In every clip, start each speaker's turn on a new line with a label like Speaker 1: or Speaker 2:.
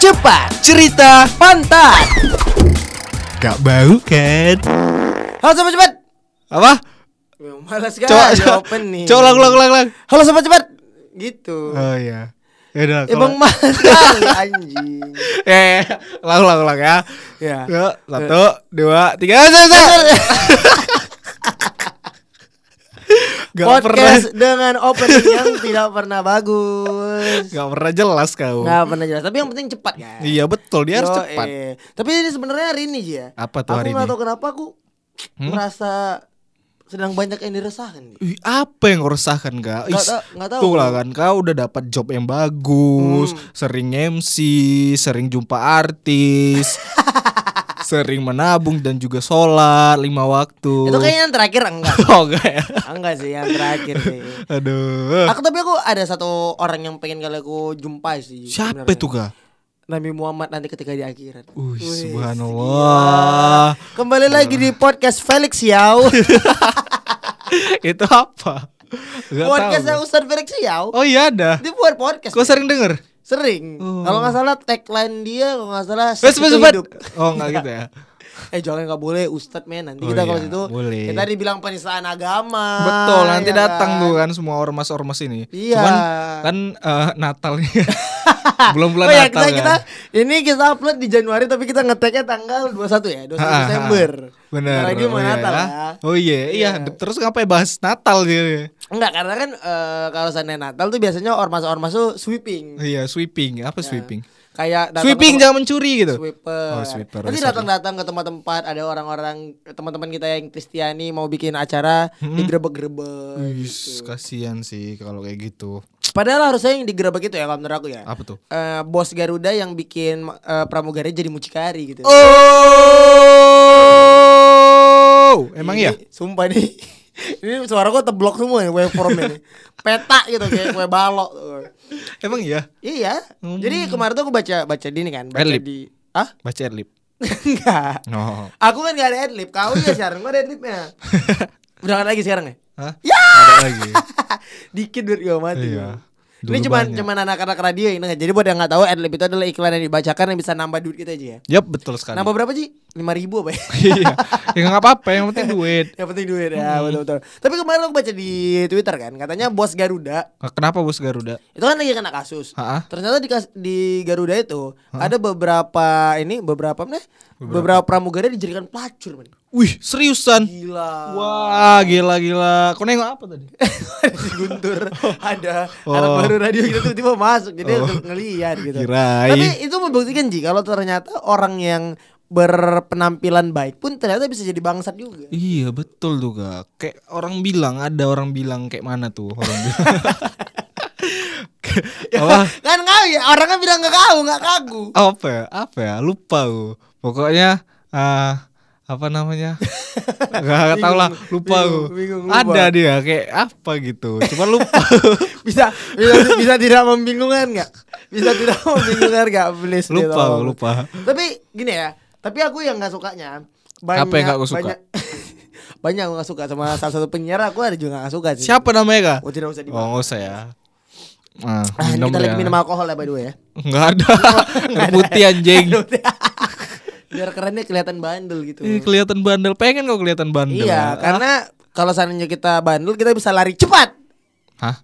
Speaker 1: Cepat cerita pantat.
Speaker 2: Gak bau kan?
Speaker 1: Halo sobat cepat.
Speaker 2: Apa?
Speaker 1: Malas kan
Speaker 2: Coba coba coba ulang ulang ulang ulang.
Speaker 1: Halo sobat cepat. Gitu.
Speaker 2: Oh iya. Ya udah.
Speaker 1: Eh
Speaker 2: kalau-
Speaker 1: bang malas kali anjing.
Speaker 2: Eh, ulang ulang ulang ya.
Speaker 1: Ya.
Speaker 2: Yuk, satu, dua, tiga, Eh, satu, satu. Gak
Speaker 1: Podcast dengan opening yang tidak pernah bagus.
Speaker 2: pernah, gak pernah jelas kau.
Speaker 1: Nggak pernah jelas. Tapi yang penting cepat kan.
Speaker 2: Oh. Iya betul, dia harus
Speaker 1: Yo,
Speaker 2: cepat.
Speaker 1: eh. Tapi ini sebenarnya hari ini Ji, ya.
Speaker 2: Apa tuh hari
Speaker 1: Aku nggak
Speaker 2: ini?
Speaker 1: tahu kenapa aku merasa sedang banyak yang diresahkan. Ji.
Speaker 2: Ih, apa yang ngeresahkan gak?
Speaker 1: Nggak
Speaker 2: Is,
Speaker 1: ta- nggak tahu. Hmm.
Speaker 2: Tuh lah kan kau udah dapat job yang bagus, sering MC, sering jumpa artis, sering menabung dan juga sholat lima waktu.
Speaker 1: Itu kayaknya yang terakhir enggak.
Speaker 2: oh enggak ya?
Speaker 1: enggak sih yang terakhir sih.
Speaker 2: Aduh.
Speaker 1: Aku tapi aku ada satu orang yang pengen kali aku jumpai sih.
Speaker 2: Siapa
Speaker 1: sebenarnya.
Speaker 2: itu kak?
Speaker 1: Nabi Muhammad nanti ketika di akhirat.
Speaker 2: Wih,
Speaker 1: Wih,
Speaker 2: subhanallah.
Speaker 1: gila. Kembali lagi di podcast Felix Yau.
Speaker 2: itu apa?
Speaker 1: iya.
Speaker 2: Gak
Speaker 1: podcast
Speaker 2: tahu.
Speaker 1: Ustaz Felix Yau.
Speaker 2: Oh iya ada.
Speaker 1: Dia buat podcast.
Speaker 2: Gua sering denger.
Speaker 1: Sering. Kalau nggak salah tagline dia kalau nggak salah
Speaker 2: Oh. Wes,
Speaker 1: "Seks
Speaker 2: wes,
Speaker 1: itu
Speaker 2: wes.
Speaker 1: hidup."
Speaker 2: Eh, Oh enggak gitu ya.
Speaker 1: Eh jangan nggak boleh Ustadz men nanti
Speaker 2: Oh
Speaker 1: kita kalau
Speaker 2: iya,
Speaker 1: situ
Speaker 2: boleh.
Speaker 1: kita dibilang penistaan agama.
Speaker 2: Betul, nanti
Speaker 1: ya
Speaker 2: datang
Speaker 1: kan?
Speaker 2: tuh kan semua ormas-ormas ini.
Speaker 1: Iya.
Speaker 2: Cuman kan eh, Natalnya belum bulan
Speaker 1: Oh ya, kita,
Speaker 2: Natal kan.
Speaker 1: kita ini kita upload di Januari tapi kita ngeteknya tanggal 21 ya, 21
Speaker 2: Ah, ah, ah.
Speaker 1: Desember.
Speaker 2: Bener.
Speaker 1: Bentar lagi mau
Speaker 2: oh iya
Speaker 1: Natal
Speaker 2: ya.
Speaker 1: ya.
Speaker 2: Oh iya, iya.
Speaker 1: Iya.
Speaker 2: Terus ngapain bahas Natal gitu?
Speaker 1: Enggak, karena kan eh, kalau seandainya Natal tuh biasanya ormas-ormas tuh sweeping.
Speaker 2: Iya, sweeping. Apa sweeping?
Speaker 1: Kayak datang
Speaker 2: Sweeping
Speaker 1: ke tempat-
Speaker 2: jangan mencuri gitu.
Speaker 1: sweeper.
Speaker 2: Oh, sweeper,
Speaker 1: Nanti
Speaker 2: sorry.
Speaker 1: datang-datang ke tempat-tempat ada orang-orang teman-teman kita yang Kristiani mau bikin acara
Speaker 2: Mm-hmm.
Speaker 1: digerebek-gerebek.
Speaker 2: Wis, kasihan sih kalau kayak gitu.
Speaker 1: Padahal harusnya yang digerebek itu ya kalau menurut aku ya.
Speaker 2: Apa tuh?
Speaker 1: Eh, bos Garuda yang bikin eh, pramugari jadi mucikari gitu.
Speaker 2: Oh! Emang
Speaker 1: Ini-
Speaker 2: iya?
Speaker 1: Sumpah nih. ini suara gua teblok semua nih waveform ini. Peta gitu kayak kue balok.
Speaker 2: Emang iya?
Speaker 1: Iya. Jadi kemarin tuh aku baca baca di ini kan, baca
Speaker 2: Adlib.
Speaker 1: di ah
Speaker 2: Baca Erlip. Oh.
Speaker 1: enggak.
Speaker 2: No.
Speaker 1: Aku kan gak ada adlib, kau ya sekarang gua ada adlibnya. Berangkat lagi sekarang ya?
Speaker 2: Hah? Ya! Ada lagi.
Speaker 1: Dikit duit gua mati.
Speaker 2: Iya.
Speaker 1: gua.
Speaker 2: Dulu
Speaker 1: ini cuman
Speaker 2: banyak.
Speaker 1: cuman anak-anak radio yang denger. Jadi buat yang nggak tahu adlib itu adalah iklan yang dibacakan yang bisa nambah duit kita aja ya.
Speaker 2: Yap, betul sekali.
Speaker 1: Nambah berapa sih? 5000 ribu apa ya?
Speaker 2: Iya. ya nggak apa-apa, yang penting duit.
Speaker 1: yang penting duit
Speaker 2: Hmm.
Speaker 1: ya, betul-betul. Tapi kemarin aku baca di Twitter kan, katanya bos Garuda
Speaker 2: Kenapa bos Garuda?
Speaker 1: itu kan lagi kena kasus.
Speaker 2: Ha-ah.
Speaker 1: Ternyata di, kas- di Garuda itu ada beberapa ini beberapa mana? Beberapa, pramugari dijadikan pelacur, men.
Speaker 2: Wih, seriusan?
Speaker 1: Gila.
Speaker 2: Wah, gila gila. Kau nengok apa tadi?
Speaker 1: di Guntur ada
Speaker 2: Oh.
Speaker 1: anak baru radio gitu tiba-tiba masuk jadi ng- ngeliat gitu.
Speaker 2: Kirain.
Speaker 1: Tapi itu membuktikan Ji kalau ternyata orang yang berpenampilan baik pun ternyata bisa jadi bangsat juga.
Speaker 2: Iya betul tuh kak. Kayak orang bilang ada orang bilang kayak mana tuh orang bilang. Kayak- apa?
Speaker 1: kan kau ya orang kan bilang ke kau nggak kaku.
Speaker 2: Apa ya? Apa ya? Lupa gue. Pokoknya ah, apa namanya? Gak tau lah. Lupa
Speaker 1: bingung,
Speaker 2: gue.
Speaker 1: bingung, lupa.
Speaker 2: Ada dia kayak apa gitu. Cuman lupa.
Speaker 1: bisa bisa bisa tidak membingungkan nggak bisa tidak membingungkan nggak please deh,
Speaker 2: lupa
Speaker 1: tolong.
Speaker 2: gue lupa.
Speaker 1: tapi gini ya tapi aku yang nggak sukanya banyak
Speaker 2: Apa yang nggak aku suka?
Speaker 1: banyak, banyak aku nggak suka sama salah satu penyiar aku ada juga nggak suka sih
Speaker 2: Siapa namanya kak?
Speaker 1: oh tidak usah dibahas
Speaker 2: Oh nggak usah ya.
Speaker 1: Ah,
Speaker 2: Ah,
Speaker 1: ini
Speaker 2: minum
Speaker 1: kita lagi
Speaker 2: ya.
Speaker 1: minum alkohol ya by the way ya
Speaker 2: Nggak ada. Air putih anjing.
Speaker 1: biar kerennya kelihatan bandel gitu
Speaker 2: Ih, kelihatan bandel. Pengen kok kelihatan bandel.
Speaker 1: iya
Speaker 2: Ah.
Speaker 1: karena kalau seandainya kita bandel kita bisa lari cepat
Speaker 2: Hah?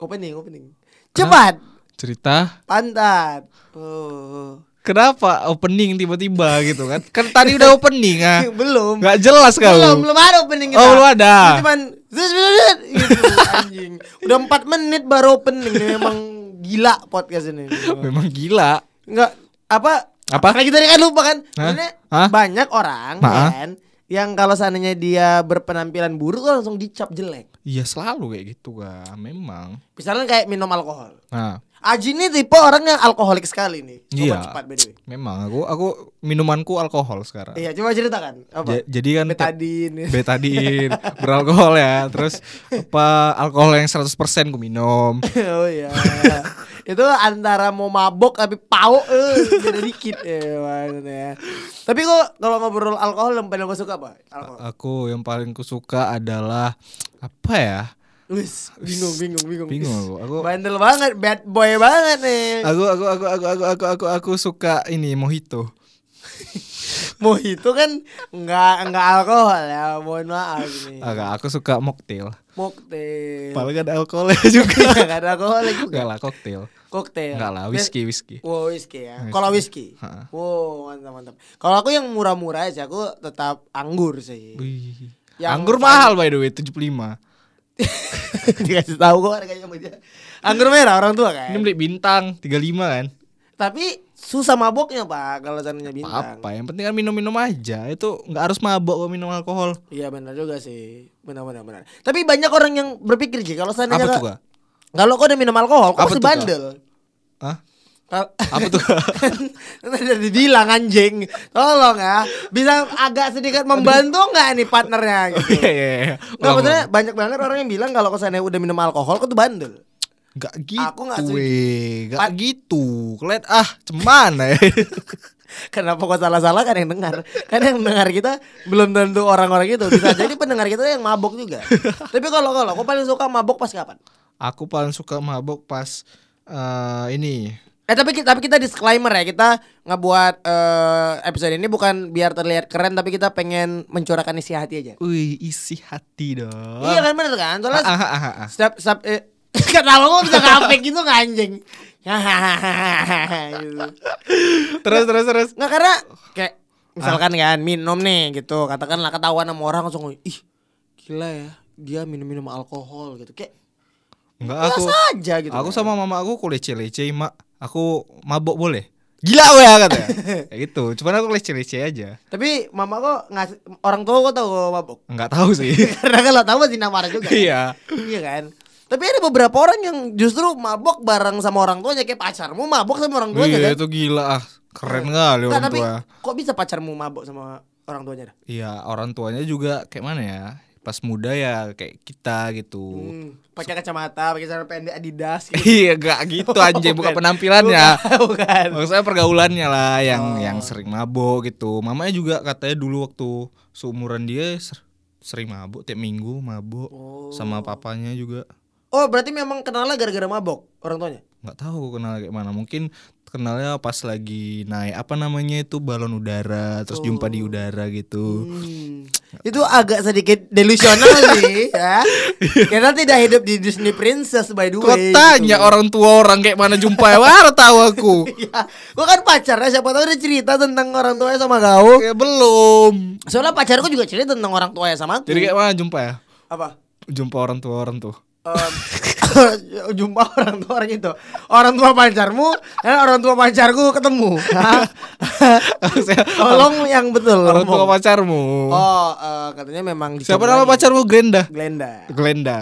Speaker 1: opening opening cepat
Speaker 2: Cerita?
Speaker 1: pantat
Speaker 2: Eh,
Speaker 1: oh.
Speaker 2: Kenapa opening tiba-tiba gitu kan? Kan tadi udah opening ah.
Speaker 1: belum
Speaker 2: Nggak jelas kau.
Speaker 1: Belum, belum ada opening kita.
Speaker 2: Oh, belum ada.
Speaker 1: Ini Cuman zuz, zuz, zuz, gitu, anjing. Udah 4 menit baru opening. Ini memang gila podcast ini.
Speaker 2: Memang gila.
Speaker 1: Enggak apa
Speaker 2: Apa?
Speaker 1: Karena kita kan lupa kan.
Speaker 2: Hah?
Speaker 1: Sebenarnya
Speaker 2: Hah?
Speaker 1: banyak orang
Speaker 2: Ma?
Speaker 1: kan yang kalau seandainya dia berpenampilan buruk tuh langsung dicap jelek.
Speaker 2: Iya selalu kayak gitu kak. Memang.
Speaker 1: Misalnya kayak minum alkohol.
Speaker 2: Nah,
Speaker 1: Aji ini tipe orang yang alkoholik sekali nih. Coba
Speaker 2: Iya.
Speaker 1: cepat by the way.
Speaker 2: memang aku aku minumanku alkohol sekarang.
Speaker 1: Iya, coba ceritakan. Apa?
Speaker 2: Ja- jadi kan tiap-
Speaker 1: Betadine.
Speaker 2: betadin beralkohol ya terus apa alkohol yang 100% ku minum
Speaker 1: oh iya. itu antara mau mabok tapi pau eh beda dikit ya maksudnya. Tapi kok kalau ngobrol alkohol yang paling gue suka apa? Alkohol.
Speaker 2: aku yang paling ku suka adalah apa ya
Speaker 1: Wis, bingung, bingung, bingung.
Speaker 2: Bingung
Speaker 1: Wis.
Speaker 2: aku. Aku
Speaker 1: Bandel banget, bad boy banget nih.
Speaker 2: aku aku aku aku aku aku aku, aku suka ini mojito.
Speaker 1: Mojito kan nggak nggak alkohol ya, mohon maaf nih.
Speaker 2: Agak aku suka mocktail.
Speaker 1: Mocktail.
Speaker 2: Padahal gak Iya. ada alkoholnya juga.
Speaker 1: Nggak ada alkohol juga.
Speaker 2: Enggak lah koktail.
Speaker 1: Koktail.
Speaker 2: Enggak lah whisky whisky.
Speaker 1: Wow, whisky ya.
Speaker 2: Whisky.
Speaker 1: Kalau whisky.
Speaker 2: Ha.
Speaker 1: Wow, mantap mantap. Kalau aku yang murah-murah aja, aku tetap anggur sih.
Speaker 2: Wih.
Speaker 1: Yang-
Speaker 2: Anggur mahal by the way 75.
Speaker 1: Dikasih tahu kok harganya sama dia. Anggur merah orang tua kan.
Speaker 2: Ini beli bintang 35 kan?
Speaker 1: Tapi susah maboknya, Pak, kalau sananya bintang.
Speaker 2: Apa, yang penting kan minum-minum aja. Itu nggak harus mabok kok minum alkohol.
Speaker 1: Iya benar juga sih. Benar benar benar. Tapi banyak orang yang berpikir sih kalau sananya
Speaker 2: Apa tuh,
Speaker 1: nggak-
Speaker 2: Kak?
Speaker 1: kalau kau udah minum alkohol, kau
Speaker 2: Apa
Speaker 1: pasti
Speaker 2: tuh, Kak?
Speaker 1: bandel.
Speaker 2: Hah?
Speaker 1: Kal-
Speaker 2: Apa tuh? Kak?
Speaker 1: Kan udah dibilang anjing Tolong ya Bisa agak sedikit membantu nggak nih partnernya gitu
Speaker 2: Iya iya iya.
Speaker 1: Nggak
Speaker 2: Ulang,
Speaker 1: maksudnya banyak banget orang yang bilang kalau kesannya udah minum alkohol kau tuh bandel
Speaker 2: ulang. Nggak gitu.
Speaker 1: Aku nggak setuju.
Speaker 2: weh. Nggak
Speaker 1: Pat-
Speaker 2: gitu. Kelet ah, cuman ya.
Speaker 1: Kenapa kok salah-salah kan yang dengar Kan yang dengar kita belum tentu orang-orang itu Bisa jadi pendengar kita yang mabok juga Tapi kalau kalau kau paling suka mabok pas kapan?
Speaker 2: Aku paling suka mabok pas eh, ini
Speaker 1: Eh tapi kita, tapi kita disclaimer ya kita ngebuat eh, episode ini bukan biar terlihat keren tapi kita pengen mencurahkan isi hati aja.
Speaker 2: Wih, isi hati dong.
Speaker 1: Iya kan bener kan? Soalnya
Speaker 2: Oh. Ah, ah, ah, ah.
Speaker 1: setiap setiap eh, ketawa kok bisa ngapain gitu nggak anjing? gitu.
Speaker 2: Terus terus terus.
Speaker 1: Nggak karena kayak misalkan
Speaker 2: Ah.
Speaker 1: kan minum nih gitu katakanlah ketahuan sama orang langsung ih gila ya dia minum-minum alkohol gitu kayak
Speaker 2: Enggak aku.
Speaker 1: biasa aja gitu.
Speaker 2: Aku sama mama aku aku lece-lece, Mak. Aku mabok boleh. Gila gue ya katanya. Kayak gitu. Cuman aku lece-lece aja.
Speaker 1: Tapi mama kok ngasih orang tua kok tau gue mabok.
Speaker 2: Enggak tahu sih.
Speaker 1: Karena kalau tahu pasti marah juga. kan?
Speaker 2: Iya.
Speaker 1: Iya kan? Tapi ada beberapa orang yang justru mabok bareng sama orang tuanya kayak pacarmu mabok sama orang tuanya
Speaker 2: Iya,
Speaker 1: kan?
Speaker 2: itu gila ah. Keren kali
Speaker 1: Nggak,
Speaker 2: orang
Speaker 1: tapi
Speaker 2: tua.
Speaker 1: kok bisa pacarmu mabok sama orang tuanya? dah?
Speaker 2: Iya, orang tuanya juga kayak mana ya? Pas muda ya kayak kita gitu.
Speaker 1: Hmm, pakai kacamata, pakai celana pendek Adidas gitu.
Speaker 2: Iya, gak gitu anjing, bukan ya. penampilannya.
Speaker 1: Bukan, Bukan.
Speaker 2: Maksudnya pergaulannya lah yang
Speaker 1: Oh.
Speaker 2: yang sering mabok gitu. Mamanya juga katanya dulu waktu seumuran dia ser- sering mabok tiap minggu mabok sama papanya juga.
Speaker 1: Oh, berarti memang kenalnya gara-gara mabok orang tuanya.
Speaker 2: nggak tahu kenal kayak mana mungkin kenalnya pas lagi naik apa namanya itu balon udara terus
Speaker 1: Oh.
Speaker 2: jumpa di udara gitu
Speaker 1: Hmm. Itu agak sedikit delusional sih, ya. Kita tidak hidup di Disney Princess by the
Speaker 2: Kau
Speaker 1: way.
Speaker 2: tanya
Speaker 1: gitu.
Speaker 2: orang tua orang kayak mana jumpa ya baru tahu aku
Speaker 1: Iya, gua kan pacarnya siapa tahu dia cerita tentang orang tuanya sama kau.
Speaker 2: kayak belum
Speaker 1: Soalnya pacarku juga cerita tentang orang tuanya sama aku.
Speaker 2: jadi kayak mana jumpa ya
Speaker 1: apa?
Speaker 2: jumpa orang tua orang tuh
Speaker 1: Em, jumpa orang tua orang itu orang tua pacarmu dan orang tua pacarku ketemu Hah?
Speaker 2: Saya-
Speaker 1: tolong yang betul
Speaker 2: orang tua
Speaker 1: ngomong.
Speaker 2: pacarmu
Speaker 1: oh eh, katanya memang
Speaker 2: siapa
Speaker 1: dicoba
Speaker 2: nama
Speaker 1: lagi.
Speaker 2: pacarmu Glenda
Speaker 1: Glenda
Speaker 2: Glenda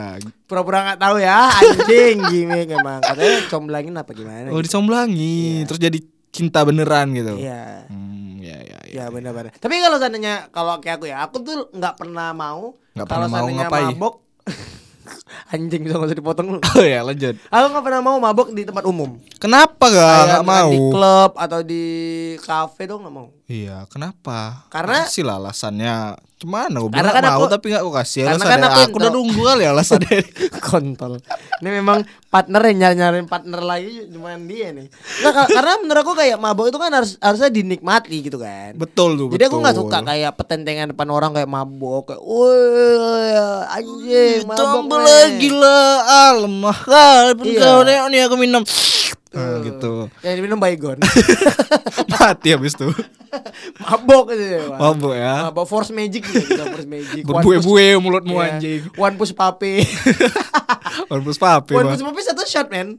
Speaker 1: pura-pura nggak tahu ya anjing gimmick emang katanya comblangin apa gimana
Speaker 2: oh
Speaker 1: gitu.
Speaker 2: dicomblangin terus jadi cinta beneran gitu
Speaker 1: iya
Speaker 2: Hmm, ya ya ya
Speaker 1: Ya benar-benar. Tapi kalau seandainya kalau kayak aku ya, aku tuh nggak pernah mau
Speaker 2: Nggak
Speaker 1: kalau
Speaker 2: pernah mau
Speaker 1: seandainya
Speaker 2: ngapain?
Speaker 1: mabok anjing bisa nggak usah dipotong lu.
Speaker 2: oh ya lanjut
Speaker 1: Aku nggak pernah mau mabok di tempat umum.
Speaker 2: kenapa gak
Speaker 1: Kayak
Speaker 2: nggak
Speaker 1: misalkan
Speaker 2: mau
Speaker 1: Di klub atau di kafe tuh nggak mau.
Speaker 2: Iya, kenapa?
Speaker 1: Karena-
Speaker 2: sih lah alasannya. Gimana gue
Speaker 1: Karena
Speaker 2: bilang
Speaker 1: kan
Speaker 2: mau
Speaker 1: aku-
Speaker 2: tapi gak gue kasih
Speaker 1: Karena
Speaker 2: alasannya.
Speaker 1: kan aku
Speaker 2: aku,
Speaker 1: yang
Speaker 2: udah
Speaker 1: tahu.
Speaker 2: nunggu kali alasannya.
Speaker 1: Kontol. Ini memang partner yang nyari nyariin partner lagi cuma dia nih. Nggak, kar- karena menurut aku kayak mabok itu kan harus harusnya dinikmati gitu kan.
Speaker 2: betul tuh,
Speaker 1: Jadi aku
Speaker 2: betul.
Speaker 1: nggak suka kayak petentengan depan orang kayak mabok kayak, "Woi, anjing, Eh, mabok."
Speaker 2: Tambah
Speaker 1: nih."
Speaker 2: lagi lah, ah lemah kali pun
Speaker 1: Iya. Eh.
Speaker 2: kau nih, nih aku minum. Nah, gitu.
Speaker 1: Yang diminum baygon
Speaker 2: Mati habis tuh.
Speaker 1: Mabok gitu Pak.
Speaker 2: Mabuk ya.
Speaker 1: Mabok force magic gitu kita, Force magic One push-
Speaker 2: Berbue-bue mulutmu
Speaker 1: Iya.
Speaker 2: anjing.
Speaker 1: One push pape
Speaker 2: Orang bus papi.
Speaker 1: One
Speaker 2: Bang.
Speaker 1: push pape satu shot men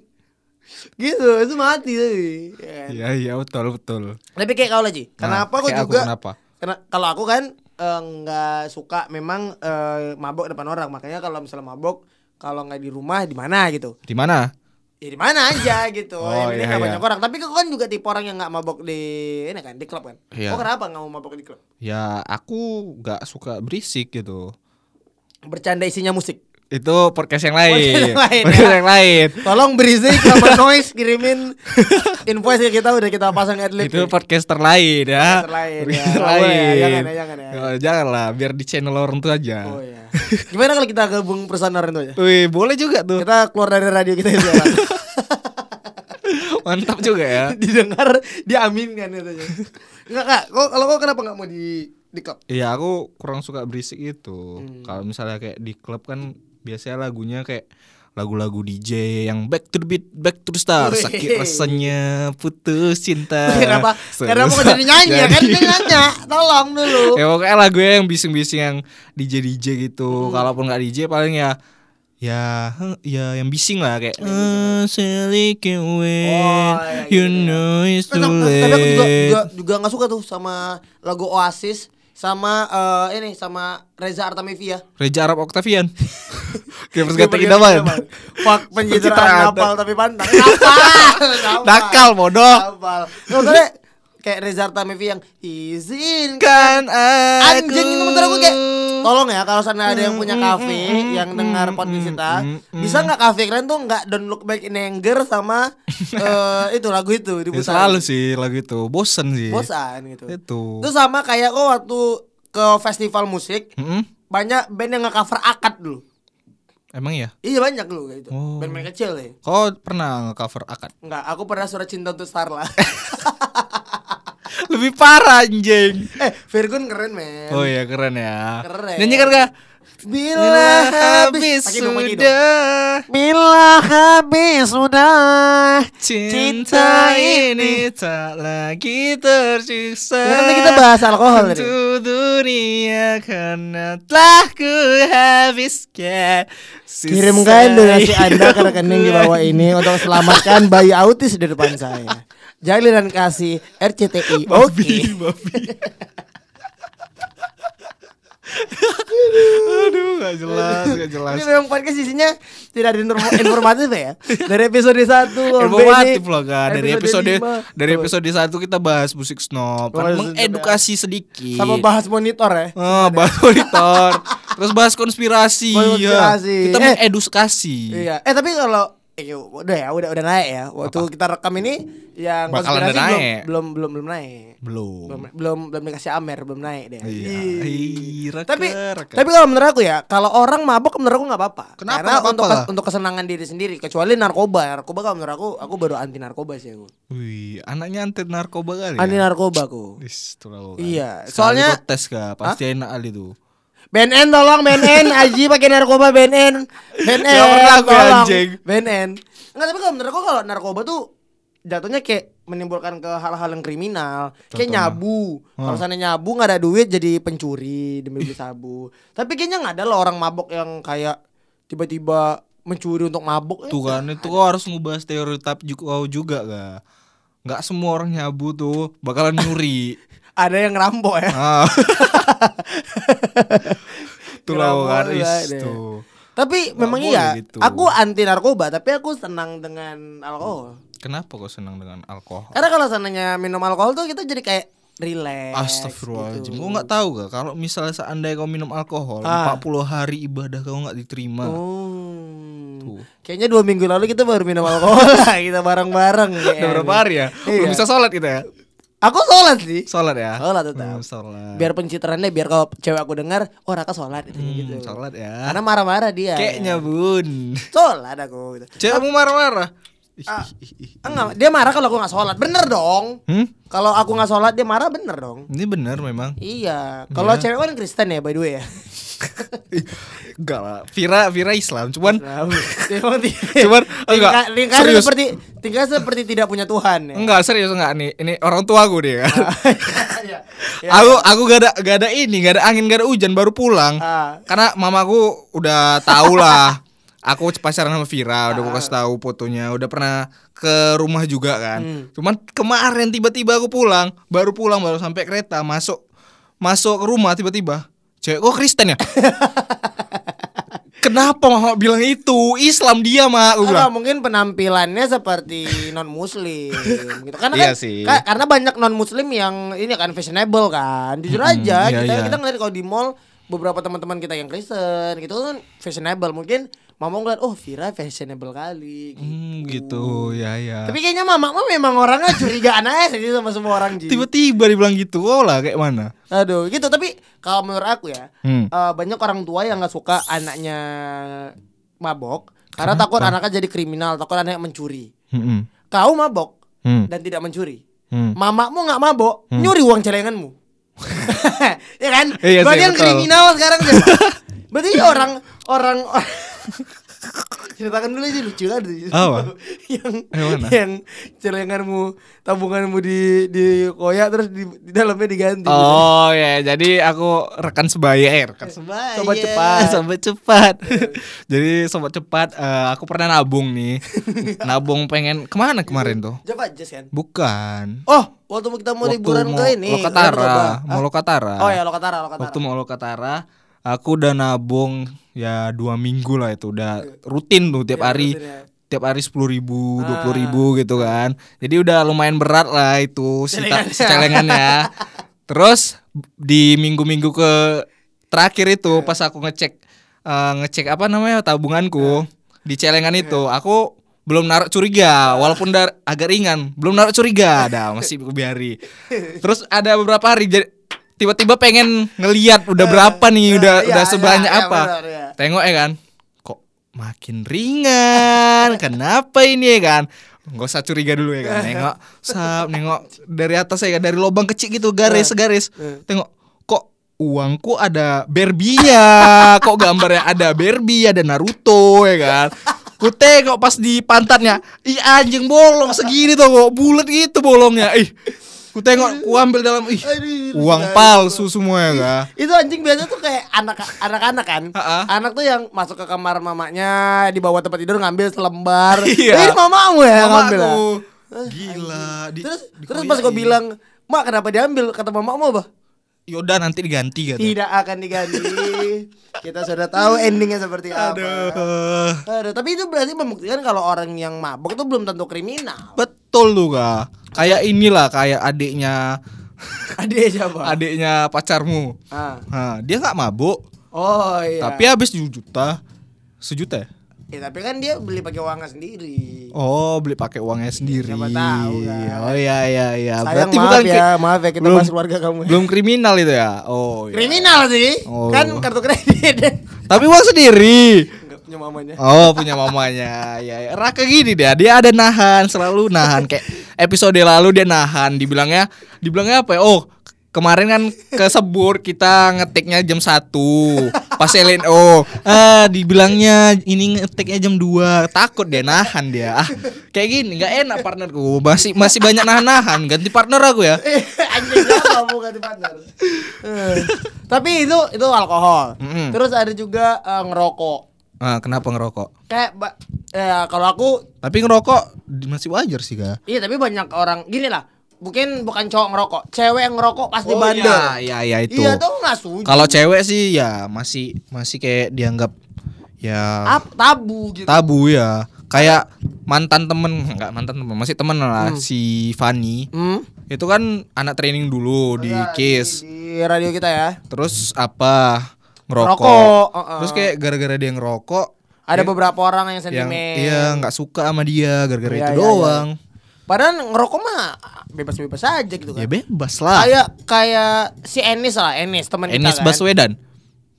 Speaker 1: Gitu itu mati tadi ya kan?
Speaker 2: Iya, iya betul, betul.
Speaker 1: Tapi kayak kau lagi
Speaker 2: Nah,
Speaker 1: Kenapa aku
Speaker 2: kayak
Speaker 1: juga
Speaker 2: kenapa?
Speaker 1: kena- Kalau aku kan eh, nggak suka memang eh, mabok depan orang Makanya kalau misalnya mabok kalau nggak di rumah di mana gitu
Speaker 2: Di mana?
Speaker 1: ya di mana aja gitu
Speaker 2: Oh,
Speaker 1: yang penting
Speaker 2: iya,
Speaker 1: nggak
Speaker 2: iya.
Speaker 1: banyak orang tapi kau kan juga tipe orang yang nggak mabok di ini kan di klub kan
Speaker 2: Iya.
Speaker 1: oh kenapa nggak mau mabok di klub
Speaker 2: Ya, aku gak suka berisik gitu.
Speaker 1: bercanda isinya musik
Speaker 2: itu podcast yang lain.
Speaker 1: yang lain,
Speaker 2: Podcast
Speaker 1: ya.
Speaker 2: yang lain.
Speaker 1: Tolong berisik sama noise kirimin invoice ke kita udah kita pasang adlib.
Speaker 2: Itu podcaster lain
Speaker 1: Podcaster
Speaker 2: ya.
Speaker 1: lain, ya.
Speaker 2: Podcaster
Speaker 1: Nggak boleh ya,
Speaker 2: lain.
Speaker 1: jangan ya, jangan ya.
Speaker 2: Oh, jangan lah, biar di channel orang tuh aja.
Speaker 1: Oh iya. Gimana kalau kita gabung personer itu aja?
Speaker 2: Wih, boleh juga tuh.
Speaker 1: Kita keluar dari radio kita itu ya.
Speaker 2: Mantap juga ya.
Speaker 1: Didengar
Speaker 2: kan
Speaker 1: diaminkan katanya. Enggak kak, kok kalau kok kenapa nggak mau di di klub?
Speaker 2: Iya, aku kurang suka berisik itu.
Speaker 1: Hmm.
Speaker 2: Kalau misalnya kayak di klub kan biasanya lagunya kayak lagu-lagu DJ yang back to the beat, back to the star,
Speaker 1: Wih.
Speaker 2: sakit rasanya putus cinta.
Speaker 1: Kenapa? Karena mau
Speaker 2: Susah
Speaker 1: jadi nyanyi ya kan?
Speaker 2: Eh,
Speaker 1: Gitu.
Speaker 2: jadi.
Speaker 1: Dia nyanyi. Tolong dulu.
Speaker 2: ya pokoknya lagu yang bising-bising yang DJ DJ
Speaker 1: Hmm.
Speaker 2: gitu. Kalaupun nggak DJ paling ya ya eh, ya yang bising lah kayak "Ah, silly
Speaker 1: Oh, ya, gitu
Speaker 2: you
Speaker 1: ya.
Speaker 2: know it's
Speaker 1: Tapi
Speaker 2: too
Speaker 1: aku juga juga
Speaker 2: late.
Speaker 1: juga nggak suka tuh sama lagu Oasis sama eh, ini sama Reza Artamevia.
Speaker 2: Reja Arab Octavian. Kayak
Speaker 1: Dia
Speaker 2: gak
Speaker 1: pakai
Speaker 2: idaman.
Speaker 1: Kidaman. Fuck pencitraan
Speaker 2: Pencitraan.
Speaker 1: kapal tapi pantang. Kapal.
Speaker 2: Nakal bodoh.
Speaker 1: Kapal. Nggak, Maksudnya kayak Reza Artamevia yang izin
Speaker 2: Kan aku.
Speaker 1: anjing itu menurut aku kayak tolong ya kalau sana ada yang
Speaker 2: Mm,
Speaker 1: punya kafe yang dengar podcast kita bisa nggak kafe kalian tuh nggak don't look back in anger sama eh, itu lagu itu
Speaker 2: Ya,
Speaker 1: diputar
Speaker 2: selalu sih lagu itu bosen sih.
Speaker 1: bosan gitu
Speaker 2: Itu.
Speaker 1: itu sama kayak kok waktu ke festival musik
Speaker 2: Mm-mm.
Speaker 1: banyak band yang nge-cover akad dulu
Speaker 2: Emang ya?
Speaker 1: iya banyak dulu kayak gitu
Speaker 2: Oh.
Speaker 1: band-band kecil ya
Speaker 2: Kau pernah nge-cover akad?
Speaker 1: Enggak, aku pernah surat cinta untuk Starla
Speaker 2: Lebih parah anjing.
Speaker 1: Eh, Virgun keren men
Speaker 2: Oh iya keren ya.
Speaker 1: Keren.
Speaker 2: Nyanyikan gak?
Speaker 1: Bila,
Speaker 2: Bila habis
Speaker 1: Pakai dong, pakai dong.
Speaker 2: sudah
Speaker 1: Bila habis sudah
Speaker 2: cinta ini tak lagi tersiksa.
Speaker 1: Ya, Nanti kita bahas alkohol tadi
Speaker 2: Untuk dunia karena telah ku habiskan Sisa
Speaker 1: Kirimkan donasi
Speaker 2: hidup
Speaker 1: Anda ke rekening di bawah ini untuk selamatkan bayi autis di depan saya. Jalinan kasih RCTI. Oke.
Speaker 2: Babi, babi. Aduh gak jelas gak jelas
Speaker 1: Ini memang podcast isinya tidak ada inform- informatif ya. Dari episode 1
Speaker 2: Informatif loh kan dari episode dari episode satu kita bahas musik snob kan
Speaker 1: Bahas musik snob, ya.
Speaker 2: mengedukasi sedikit
Speaker 1: sama bahas monitor ya.
Speaker 2: Eh, bahas monitor terus bahas konspirasi,
Speaker 1: Bahas
Speaker 2: ya.
Speaker 1: konspirasi.
Speaker 2: kita
Speaker 1: Eh.
Speaker 2: mengedukasi
Speaker 1: Iya. Eh tapi kalau eh, udah ya, udah udah naik ya. Waktu kita rekam ini yang konspirasi
Speaker 2: Bakalan
Speaker 1: belum,
Speaker 2: udah naik.
Speaker 1: belum belum belum naik. Belum
Speaker 2: belum
Speaker 1: belum belum dikasih Amer, belum naik deh.
Speaker 2: Iya. Ih, reka,
Speaker 1: tapi
Speaker 2: reka.
Speaker 1: tapi kalau menurut aku ya kalau orang mabuk menurut aku nggak apa-apa
Speaker 2: Kenapa
Speaker 1: karena
Speaker 2: nggak apa-apa
Speaker 1: untuk
Speaker 2: lah?
Speaker 1: untuk kesenangan diri sendiri kecuali narkoba narkoba kalau menurut aku aku baru anti narkoba sih aku
Speaker 2: wih anaknya anti narkoba kali
Speaker 1: anti
Speaker 2: ya
Speaker 1: narkoba aku
Speaker 2: Is, tuh lah, kan.
Speaker 1: Iya,
Speaker 2: Sekali
Speaker 1: soalnya-
Speaker 2: kau tes kah pasti enak kali tuh
Speaker 1: BNN tolong BNN Aji pakai narkoba BNN BNN
Speaker 2: Nggak pernah aku,
Speaker 1: tolong
Speaker 2: anjing.
Speaker 1: BNN nggak tapi kalau menurut aku kalau narkoba tuh jatuhnya kayak menimbulkan ke hal-hal yang kriminal kayak
Speaker 2: Contohnya?
Speaker 1: nyabu kalau sana nyabu nggak ada duit jadi pencuri demi beli sabu tapi kayaknya nggak ada loh orang mabok yang kayak tiba-tiba mencuri untuk mabok Eh,
Speaker 2: tuh kan itu kau harus ngebahas teori tap juga kau juga gak nggak semua orang nyabu tuh bakalan nyuri
Speaker 1: ada yang rampok ya
Speaker 2: ah tuh lah
Speaker 1: Ngerampok
Speaker 2: kan
Speaker 1: lah
Speaker 2: is
Speaker 1: deh.
Speaker 2: tuh
Speaker 1: tapi
Speaker 2: Nggak
Speaker 1: memang
Speaker 2: boleh
Speaker 1: iya
Speaker 2: gitu.
Speaker 1: aku anti narkoba tapi aku senang dengan alkohol
Speaker 2: kenapa kau senang dengan alkohol
Speaker 1: Karena kalau sananya minum alkohol tuh kita jadi kayak relax. Eh, gitu.
Speaker 2: Astagfirullahaladzim Gue gak tahu gak Kalau misalnya seandainya kau minum alkohol
Speaker 1: Ah. Oh,
Speaker 2: 40 hari ibadah kau gak diterima
Speaker 1: gitu. Hmm.
Speaker 2: Tuh.
Speaker 1: Kayaknya dua minggu lalu kita baru minum alkohol lah, kita bareng-bareng.
Speaker 2: Udah
Speaker 1: kayaknya.
Speaker 2: berapa hari ya? Belum
Speaker 1: eh, Iya.
Speaker 2: bisa sholat kita ya?
Speaker 1: Aku sholat sih.
Speaker 2: Sholat ya?
Speaker 1: Sholat tetap.
Speaker 2: Hmm, sholat
Speaker 1: Biar pencitraannya biar kalau cewek aku dengar, oh Raka sholat gitu. gitu.
Speaker 2: Hmm, Sholat ya iya.
Speaker 1: Karena marah-marah dia.
Speaker 2: Kayaknya bun
Speaker 1: Sholat aku. Gitu.
Speaker 2: Cewekmu marah-marah Ih, ih, ih, ih.
Speaker 1: Enggak, dia marah kalau aku nggak sholat. Bener dong.
Speaker 2: Hmm?
Speaker 1: Kalau aku nggak sholat dia marah bener dong.
Speaker 2: Ini bener memang
Speaker 1: Iya. Kalau cewek kan Kristen ya by the way ya.
Speaker 2: Enggak lah Vira, Vira Islam Cuman
Speaker 1: Emang tidak.
Speaker 2: Cuman, enggak,
Speaker 1: Tingkah- tingkahnya
Speaker 2: serius.
Speaker 1: seperti tingkah seperti tidak punya Tuhan ya.
Speaker 2: Enggak serius enggak nih Ini orang tua gue dia kan
Speaker 1: Iya.
Speaker 2: Aku aku gak ada gak ada ini, gak ada angin, gak ada hujan baru pulang.
Speaker 1: Ah.
Speaker 2: Karena mamaku udah tahu lah. aku pacaran sama Vira, udah aku kasih tahu fotonya, udah pernah ke rumah juga kan. Cuman kemarin tiba-tiba aku pulang, baru pulang baru sampai kereta, masuk masuk ke rumah tiba-tiba. Cewek kok Kristen ya? Kenapa mama bilang itu? Islam dia, Mak.
Speaker 1: Atau
Speaker 2: Aku bilang.
Speaker 1: mungkin penampilannya seperti non muslim gitu. Karena
Speaker 2: Iya
Speaker 1: kan
Speaker 2: sih.
Speaker 1: ka- karena banyak non muslim yang ini kan fashionable kan. Jujur aja
Speaker 2: iya,
Speaker 1: kita
Speaker 2: iya.
Speaker 1: kita ngeliat kalau di mall beberapa teman-teman kita yang Kristen gitu kan fashionable mungkin mama ngeliat oh Vira fashionable kali gitu.
Speaker 2: Hmm, gitu ya ya.
Speaker 1: Tapi kayaknya mama mah memang orangnya curigaan aja sih sama semua orang Ji.
Speaker 2: Tiba-tiba dibilang gitu, oh lah kayak mana?
Speaker 1: Aduh, gitu. Tapi kalau menurut aku ya, eh,
Speaker 2: Hmm.
Speaker 1: banyak orang tua yang nggak suka anaknya mabok karena takut anaknya jadi kriminal, takut anaknya mencuri.
Speaker 2: Hmm,
Speaker 1: Kau mabok
Speaker 2: hmm,
Speaker 1: dan tidak mencuri.
Speaker 2: hmm.
Speaker 1: Mamamu nggak mabok, nyuri uang celenganmu. ya kan?
Speaker 2: Iya sih,
Speaker 1: Berarti yang
Speaker 2: betul.
Speaker 1: kriminal sekarang siapa? Berarti orang orang ceritakan dulu sih lucu kan
Speaker 2: Oh, Apa?
Speaker 1: yang
Speaker 2: Yang mana?
Speaker 1: yang celenganmu tabunganmu di di koyak terus di, di dalamnya diganti
Speaker 2: Oh ya, jadi aku rekan sebaya eh, rekan sebaya.
Speaker 1: Sobat cepat.
Speaker 2: sobat cepat.
Speaker 1: Iya.
Speaker 2: jadi sobat cepat, eh, aku pernah nabung nih. nabung pengen kemana kemarin tuh?
Speaker 1: Java Jazz kan
Speaker 2: Bukan.
Speaker 1: oh waktu kita mau liburan ke ini
Speaker 2: Lokatara,
Speaker 1: Danau Toba.
Speaker 2: mau Lokatara.
Speaker 1: Ah, oh ya Lokatara Lokatara
Speaker 2: Waktu mau Lokatara, aku udah nabung ya dua minggu lah itu udah rutin tuh tiap hari
Speaker 1: Iya. rutin ya.
Speaker 2: tiap hari sepuluh
Speaker 1: Ah.
Speaker 2: ribu dua ribu gitu kan jadi udah lumayan berat lah itu si ta-
Speaker 1: Celengannya.
Speaker 2: si celengannya terus di minggu-minggu ke terakhir itu pas aku ngecek eh, ngecek apa namanya
Speaker 1: Eh.
Speaker 2: tabunganku di celengan itu aku belum naruh
Speaker 1: Eh.
Speaker 2: curiga walaupun dar- agak ringan belum naruh curiga dah masih aku biari terus ada beberapa hari jadi tiba-tiba pengen ngeliat udah berapa nih udah
Speaker 1: Eh. iya,
Speaker 2: udah
Speaker 1: iya,
Speaker 2: sebanyak
Speaker 1: iya,
Speaker 2: apa
Speaker 1: benar, iya.
Speaker 2: Tengok ya kan Kok makin ringan Kenapa ini ya kan Gak usah curiga dulu ya kan Nengok sap, Nengok dari atas ya kan Dari lubang kecil gitu
Speaker 1: Iya.
Speaker 2: Garis-garis Tengok Kok uangku ada Berbinya Kok gambarnya ada Berbi Ada Naruto ya kan Ku tengok pas di pantatnya Ih anjing bolong segini tuh kok Bulat gitu bolongnya Ih Ku tengok Ku ambil dalam Ih
Speaker 1: Aduh, iya.
Speaker 2: Uang palsu semua ya kan
Speaker 1: itu anjing biasa tuh kayak anak anak-anak kan
Speaker 2: Ha-ha.
Speaker 1: anak tuh yang masuk ke kamar mamanya di bawah tempat tidur ngambil selembar
Speaker 2: Iya.
Speaker 1: Eh, ini mamamu ya yang
Speaker 2: Mama
Speaker 1: ngambil ya?
Speaker 2: aku.
Speaker 1: Eh,
Speaker 2: Gila di-
Speaker 1: terus
Speaker 2: di- Iya,
Speaker 1: terus pas gue
Speaker 2: dikoyain.
Speaker 1: bilang mak kenapa diambil kata mamamu apa
Speaker 2: Yoda nanti diganti gitu.
Speaker 1: tidak akan diganti kita sudah tahu endingnya seperti apa
Speaker 2: Aduh.
Speaker 1: Aduh, tapi itu berarti membuktikan kalau orang yang mabok itu belum tentu kriminal.
Speaker 2: Betul lu kak. Kayak inilah kayak adiknya
Speaker 1: Adik siapa?
Speaker 2: adiknya pacarmu.
Speaker 1: Ah.
Speaker 2: Nah, dia nggak mabuk,
Speaker 1: Oh iya.
Speaker 2: tapi habis juta, sejuta. ya?
Speaker 1: Ya, tapi kan dia beli pakai uangnya sendiri.
Speaker 2: Oh, beli pakai uangnya sendiri.
Speaker 1: Iya, Siapa tahu, kan.
Speaker 2: Oh iya iya iya.
Speaker 1: Sayang
Speaker 2: Berarti
Speaker 1: maaf
Speaker 2: bukan
Speaker 1: ya,
Speaker 2: kri-
Speaker 1: maaf ya kita
Speaker 2: belum-
Speaker 1: bahas keluarga kamu.
Speaker 2: belum kriminal itu ya. Oh. Iya.
Speaker 1: Kriminal sih.
Speaker 2: Oh.
Speaker 1: Kan kartu kredit.
Speaker 2: Tapi uang sendiri.
Speaker 1: Enggak punya mamanya.
Speaker 2: Oh punya mamanya ya, ya. Raka gini dia Dia ada nahan Selalu nahan Kayak episode lalu dia nahan Dibilangnya Dibilangnya apa ya Oh Kemarin kan kesebut kita ngetiknya jam 1 Pas LNO ah, Dibilangnya ini ngetiknya jam 2 Takut dia nahan dia ah, Kayak gini nggak enak partnerku Masih masih banyak nahan-nahan Ganti partner aku ya
Speaker 1: Eh, Anjing apa mau ganti partner. Eh, Tapi itu itu alkohol.
Speaker 2: Mm-mm.
Speaker 1: Terus ada juga eh, ngerokok.
Speaker 2: ah, Kenapa ngerokok
Speaker 1: Kayak ba- eh, kalau aku
Speaker 2: Tapi ngerokok masih wajar sih kak
Speaker 1: iya tapi banyak orang gini lah. Mungkin bukan cowok ngerokok, cewek yang ngerokok pasti bandel.
Speaker 2: Iya iya itu
Speaker 1: Oh, Iya tuh nggak setuju.
Speaker 2: Kalau cewek sih ya masih masih kayak dianggap ya
Speaker 1: Ap- tabu gitu.
Speaker 2: tabu ya. Kayak mantan temen nggak mantan temen masih temen lah si Fani
Speaker 1: Hmm?
Speaker 2: itu kan anak training
Speaker 1: Oh,
Speaker 2: dulu di
Speaker 1: iya,
Speaker 2: KISS
Speaker 1: Di radio kita ya.
Speaker 2: terus apa ngerokok
Speaker 1: Ngerokok, uh-uh.
Speaker 2: terus kayak gara-gara dia ngerokok
Speaker 1: Ada beberapa orang yang
Speaker 2: yang
Speaker 1: sentimen.
Speaker 2: iya nggak suka sama dia gara-gara
Speaker 1: Iya, iya,
Speaker 2: itu
Speaker 1: iya.
Speaker 2: doang
Speaker 1: Padahal ngerokok mah bebas-bebas aja gitu
Speaker 2: ya
Speaker 1: kan.
Speaker 2: bebas lah
Speaker 1: kayak kayak si Enis lah, Enis teman kita
Speaker 2: Enis
Speaker 1: kan.
Speaker 2: Baswedan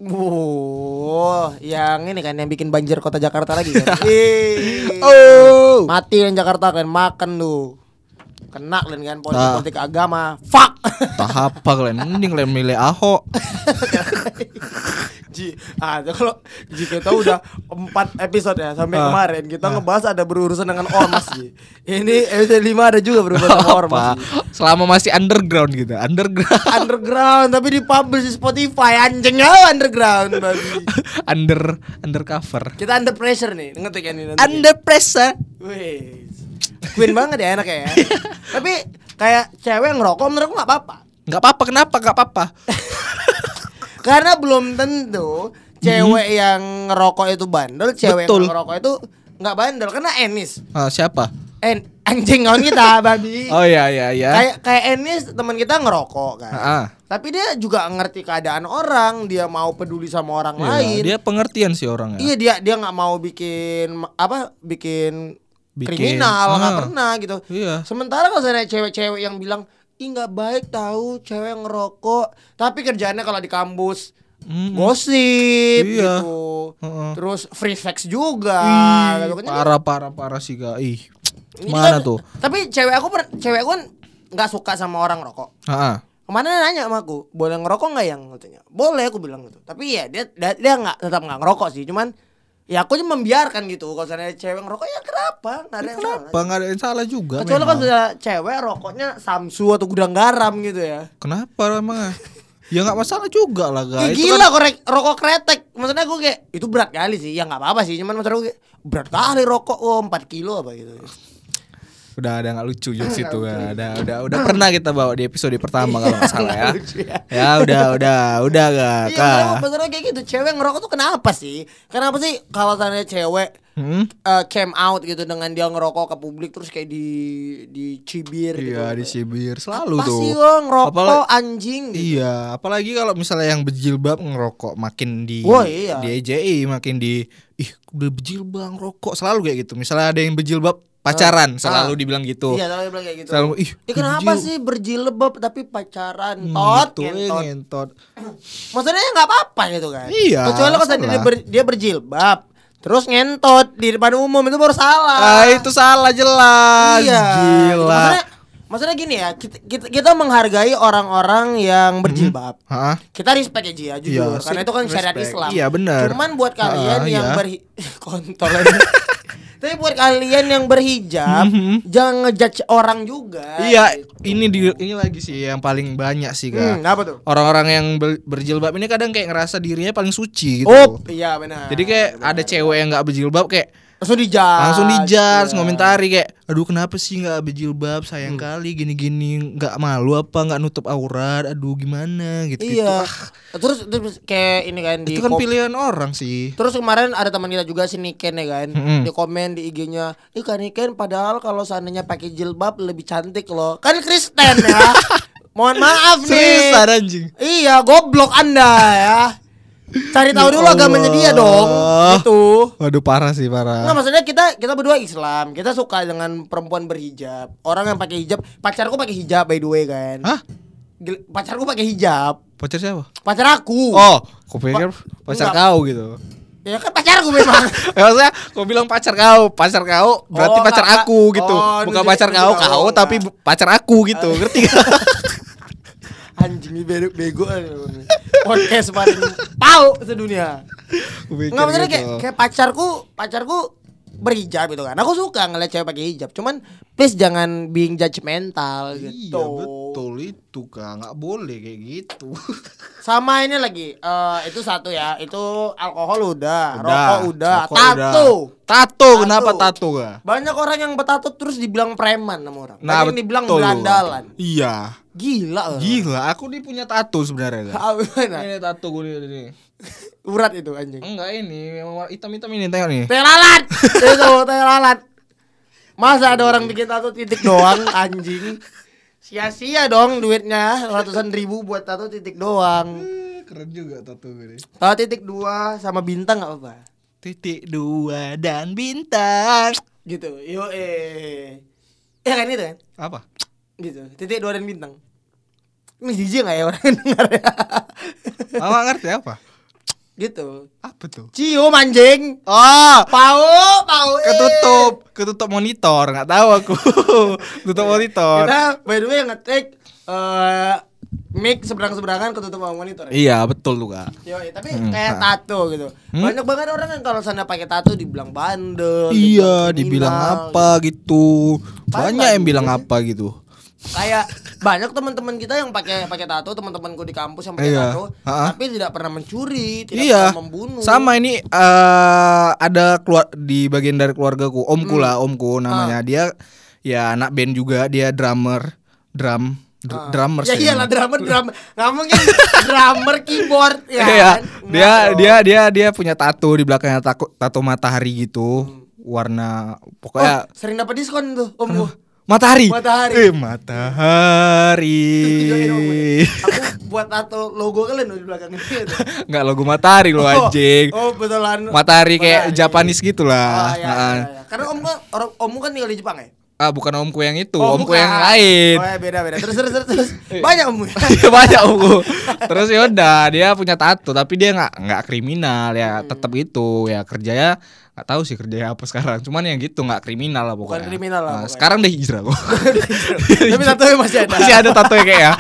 Speaker 1: Wuh, yang ini kan yang bikin banjir kota Jakarta lagi kan. Ih.
Speaker 2: oh
Speaker 1: Mati yang Jakarta kan makan lu. Kena kalian kan politik,
Speaker 2: Nah.
Speaker 1: politik agama. Fuck.
Speaker 2: tahap apa kalian mending kalian milih Ahok
Speaker 1: Ji, ah itu kalau Ji kita udah empat episode ya sampai
Speaker 2: Ah.
Speaker 1: kemarin kita ngebahas ada berurusan dengan ormas Ji. Ini episode 5 ada juga berurusan sama ormas.
Speaker 2: apa
Speaker 1: Ji.
Speaker 2: selama masih underground gitu underground
Speaker 1: Underground tapi dipublish di Spotify anjing ya underground babi.
Speaker 2: under undercover
Speaker 1: Kita under pressure nih, ngetik ya nih nanti.
Speaker 2: under pressure
Speaker 1: Wih. Queen banget ya enaknya ya. tapi kayak cewek ngerokok menurut aku nggak apa-apa.
Speaker 2: nggak apa-apa kenapa nggak apa-apa
Speaker 1: Karena belum tentu cewek yang ngerokok itu bandel, cewek
Speaker 2: Hmm. Betul.
Speaker 1: yang ngerokok itu nggak bandel karena Enis.
Speaker 2: Ah, siapa
Speaker 1: En anjing kawan kita babi
Speaker 2: Oh iya iya iya.
Speaker 1: kayak kayak Enis teman kita ngerokok kan
Speaker 2: Ah, ah.
Speaker 1: tapi dia juga ngerti keadaan orang dia mau peduli sama orang
Speaker 2: Iya,
Speaker 1: lain
Speaker 2: dia pengertian sih orang ya.
Speaker 1: iya dia dia nggak mau bikin ma- apa bikin,
Speaker 2: Bikin.
Speaker 1: kriminal nggak
Speaker 2: Ah.
Speaker 1: pernah gitu
Speaker 2: Iya.
Speaker 1: sementara kalau saya cewek-cewek yang bilang ih nggak baik tahu cewek ngerokok tapi kerjaannya kalau di kampus
Speaker 2: Mm.
Speaker 1: gosip
Speaker 2: Iya.
Speaker 1: gitu
Speaker 2: Heeh.
Speaker 1: terus free sex juga gitu kan. Jadi
Speaker 2: parah parah parah sih gak. Ih.
Speaker 1: Ini
Speaker 2: Mana
Speaker 1: kan-
Speaker 2: tuh?
Speaker 1: Tapi cewek aku per, cewek aku kan nggak suka sama orang rokok.
Speaker 2: Ah, ah.
Speaker 1: Kemarin dia nanya sama aku, boleh ngerokok nggak yang katanya? Boleh aku bilang gitu. Tapi ya dia dia dia nggak tetap nggak ngerokok sih, cuman ya aku cuma membiarkan gitu. Kalau misalnya cewek ngerokok ya kenapa? Nggak ada yang
Speaker 2: Kenapa
Speaker 1: salah.
Speaker 2: nggak ada yang salah juga?
Speaker 1: Kecuali kan
Speaker 2: memang.
Speaker 1: kalau sudah cewek rokoknya Samsu atau gudang garam gitu ya.
Speaker 2: Kenapa emang? ah? ya nggak masalah juga lah
Speaker 1: Ih,
Speaker 2: guys. Nah, Itu kan-
Speaker 1: gila korek, rokok kretek. Maksudnya aku kayak itu berat kali sih. Ya nggak apa-apa sih, cuman maksud aku kayak berat kali rokok oh, 4 kilo apa gitu.
Speaker 2: Nah, udah ada nggak lucu jokes itu ya. Ada udah udah pernah kita bawa di episode pertama kalau nggak salah ya.
Speaker 1: Lucu ya.
Speaker 2: Ya udah udah udah gak.
Speaker 1: Iya, maksudnya-
Speaker 2: kan.
Speaker 1: maksudnya kayak gitu. Cewek ngerokok tuh kenapa sih? Kenapa sih kalau tanya cewek
Speaker 2: Hmm?
Speaker 1: eh, came out gitu dengan dia ngerokok ke publik terus kayak di dicibir gitu.
Speaker 2: Iya di Sibir selalu
Speaker 1: Apa
Speaker 2: tuh.
Speaker 1: sih lo ngerokok
Speaker 2: Apalagi-
Speaker 1: anjing? gitu.
Speaker 2: Iya, apalagi kalau misalnya yang berjilbab ngerokok makin di
Speaker 1: Wah, iya.
Speaker 2: di EJI makin di ih udah berjilbab rokok selalu kayak gitu. Misalnya ada yang berjilbab pacaran selalu
Speaker 1: ah.
Speaker 2: dibilang gitu.
Speaker 1: Iya, selalu bilang kayak gitu.
Speaker 2: Selalu ih.
Speaker 1: Ya, kenapa
Speaker 2: berjil-
Speaker 1: sih berjilbab tapi pacaran
Speaker 2: Hmm,
Speaker 1: tot
Speaker 2: gitu, eh,
Speaker 1: ngentot.
Speaker 2: ngentot.
Speaker 1: Maksudnya nggak apa-apa gitu kan.
Speaker 2: Iya,
Speaker 1: Kecuali kalau
Speaker 2: salah.
Speaker 1: dia, ber- dia berjilbab terus ngentot di depan umum itu baru salah.
Speaker 2: Ah, itu salah jelas.
Speaker 1: Iya.
Speaker 2: Ah, Gila.
Speaker 1: Maksudnya, maksudnya gini ya, kita, kita, kita menghargai orang-orang
Speaker 2: Mm-hmm.
Speaker 1: yang berjilbab.
Speaker 2: Hah?
Speaker 1: Kita respect aja ya jujur,
Speaker 2: Iya,
Speaker 1: karena
Speaker 2: sih,
Speaker 1: itu kan syariat
Speaker 2: respect.
Speaker 1: Islam.
Speaker 2: Iya, benar.
Speaker 1: Cuman buat kalian
Speaker 2: Ah,
Speaker 1: yang
Speaker 2: iya.
Speaker 1: berhi kontol aja. Tapi buat kalian yang berhijab, jangan ngejudge orang juga.
Speaker 2: Mhm. Iya, ini di ini lagi sih yang paling banyak sih,
Speaker 1: gitu. Hmm,
Speaker 2: Kak.
Speaker 1: apa tuh?
Speaker 2: Orang-orang yang ber- berjilbab ini kadang kayak ngerasa dirinya paling suci gitu.
Speaker 1: Oh, iya benar.
Speaker 2: Jadi kayak ada cewek yang nggak berjilbab kayak
Speaker 1: langsung dijudge.
Speaker 2: langsung dijudge,
Speaker 1: Iya.
Speaker 2: ngomentari kayak aduh kenapa sih nggak berjilbab sayang kali gini-gini nggak malu apa nggak nutup aurat aduh gimana gitu gitu
Speaker 1: Iya. Terus, terus kayak ini kan di
Speaker 2: itu
Speaker 1: kom-
Speaker 2: kan pilihan orang sih
Speaker 1: Terus kemarin ada teman kita juga si Niken ya kan,
Speaker 2: Mm-mm.
Speaker 1: di komen di IG-nya, "Ih Kak Niken padahal kalau seandainya pakai jilbab lebih cantik loh." Kan Kristen ya. Mohon maaf nih.
Speaker 2: seriusan anjing
Speaker 1: Iya, goblok Anda ya. Cari tahu
Speaker 2: Ya
Speaker 1: dulu agamanya
Speaker 2: Allah.
Speaker 1: dia dong. Gitu.
Speaker 2: waduh parah sih
Speaker 1: Nggak
Speaker 2: parah
Speaker 1: maksudnya kita kita berdua Islam, kita suka dengan perempuan berhijab. Orang yang pakai hijab, pacarku pakai hijab by the way kan.
Speaker 2: hah
Speaker 1: Gil- Pacarku pakai hijab.
Speaker 2: pacar siapa
Speaker 1: Pacar aku.
Speaker 2: oh kau pikir
Speaker 1: Pa-
Speaker 2: pacar
Speaker 1: enggak.
Speaker 2: kau gitu
Speaker 1: Ya kan pacarku memang.
Speaker 2: Ya, maksudnya kau bilang pacar kau pacar kau berarti
Speaker 1: Oh,
Speaker 2: pacar
Speaker 1: nggak,
Speaker 2: aku
Speaker 1: nggak.
Speaker 2: gitu
Speaker 1: Oh,
Speaker 2: bukan
Speaker 1: jadi-
Speaker 2: pacar
Speaker 1: jadi
Speaker 2: kau
Speaker 1: nggak,
Speaker 2: kau
Speaker 1: oh,
Speaker 2: tapi
Speaker 1: nggak.
Speaker 2: bu- pacar aku gitu ngerti gak
Speaker 1: Anjing ini bego, bego ini. podcast paling pau sedunia.
Speaker 2: Gua pikir
Speaker 1: Enggak maksudnya
Speaker 2: gitu.
Speaker 1: kayak, kayak pacarku, pacarku berhijab gitu kan. Aku suka ngeliat cewek pakai hijab, cuman please jangan being judgmental gitu.
Speaker 2: Iya betul itu kak nggak boleh kayak gitu.
Speaker 1: Sama ini lagi, eh, itu satu ya, itu alkohol udah, rokok udah,
Speaker 2: rokok
Speaker 1: tato.
Speaker 2: udah. tato kenapa tato kak?
Speaker 1: Banyak orang yang bertato terus dibilang preman sama orang. Nah, yang dibilang
Speaker 2: betul.
Speaker 1: berandalan.
Speaker 2: Iya.
Speaker 1: Gila. eh.
Speaker 2: Gila, aku nih punya tato sebenarnya kak.
Speaker 1: Gimana?
Speaker 2: Ini tato gue nih, ini.
Speaker 1: Urat itu anjing.
Speaker 2: Enggak ini, yang warna hitam-hitam ini tengok nih.
Speaker 1: Teh lalat. Itu teh lalat. Masa ada orang bikin tato titik doang anjing. Sia-sia dong duitnya ratusan ribu buat tato titik doang.
Speaker 2: Eh, Keren juga tato gue nih.
Speaker 1: Tato titik dua sama bintang nggak apa-apa.
Speaker 2: Titik dua dan bintang.
Speaker 1: Gitu. Yo eh. Ya kan itu kan?
Speaker 2: Apa?
Speaker 1: Gitu. Titik dua dan bintang. Ini jijik nggak ya orang yang dengar ya?
Speaker 2: Mama ngerti apa?
Speaker 1: gitu.
Speaker 2: Apa tuh?
Speaker 1: Cium anjing.
Speaker 2: Oh,
Speaker 1: Pau, pau. eh.
Speaker 2: ketutup, ketutup monitor, nggak tahu aku. Ketutup monitor.
Speaker 1: Kita by the way ngetik eh mic seberang-seberangan ketutup sama monitor. ya?
Speaker 2: Iya, betul tuh, Kak.
Speaker 1: Yoi, tapi
Speaker 2: Hmm,
Speaker 1: kayak
Speaker 2: nah.
Speaker 1: tato gitu. Banyak banget orang yang kalau sana pakai tato dibilang bandel. dibilang
Speaker 2: Iya, dibilang
Speaker 1: kriminal,
Speaker 2: apa gitu. Banyak
Speaker 1: Parah
Speaker 2: yang
Speaker 1: juga
Speaker 2: bilang apa gitu.
Speaker 1: gitu. Kayak banyak teman-teman kita yang pakai pakai tato, teman-temanku di kampus yang pakai
Speaker 2: Iya.
Speaker 1: tato,
Speaker 2: Ha-ha.
Speaker 1: tapi tidak pernah mencuri, tidak
Speaker 2: Iya.
Speaker 1: pernah membunuh.
Speaker 2: Sama ini eh ada keluar di bagian dari keluargaku, omku
Speaker 1: Hmm.
Speaker 2: lah,
Speaker 1: Ah.
Speaker 2: omku namanya. Dia ya anak band juga, dia drummer, drum, dr- drummer
Speaker 1: Ya
Speaker 2: sih.
Speaker 1: iyalah drummer drummer. Nggak mungkin drummer keyboard ya.
Speaker 2: Iya,
Speaker 1: kan?
Speaker 2: dia
Speaker 1: Nggak dong. Hmm.
Speaker 2: dia dia dia punya tato di belakangnya tato, tato matahari gitu. warna
Speaker 1: Oh,
Speaker 2: pokoknya
Speaker 1: sering dapat diskon tuh om gua.
Speaker 2: matahari.
Speaker 1: Matahari.
Speaker 2: Eh, matahari.
Speaker 1: Terus dijodohin sama gue. Aku buat tato logo kalian loh di belakangnya. Gitu.
Speaker 2: Enggak logo matahari lo anjing.
Speaker 1: Oh, betulan.
Speaker 2: Matahari kayak Japanese
Speaker 1: Ah,
Speaker 2: gitulah.
Speaker 1: ya,
Speaker 2: Heeh.
Speaker 1: ya, ya. Karena om kan orang ommu kan tinggal di Jepang ya?
Speaker 2: Ah, bukan omku yang itu,
Speaker 1: Oh,
Speaker 2: omku
Speaker 1: bukan.
Speaker 2: yang lain.
Speaker 1: Oh, ya, beda beda. Terus terus terus. terus. Banyak ommu. ya?
Speaker 2: Iya, banyak omku. Terus yaudah dia punya tato tapi dia nggak nggak kriminal
Speaker 1: Hmm.
Speaker 2: ya, tetap gitu ya kerjanya nggak tahu sih kerjanya apa sekarang. Cuman yang gitu nggak kriminal lah pokoknya.
Speaker 1: kriminal lah
Speaker 2: Nah,
Speaker 1: pokoknya.
Speaker 2: sekarang dia hijrah kok.
Speaker 1: Tapi tato masih ada.
Speaker 2: Masih ada tato kayak
Speaker 1: Iya.
Speaker 2: ya.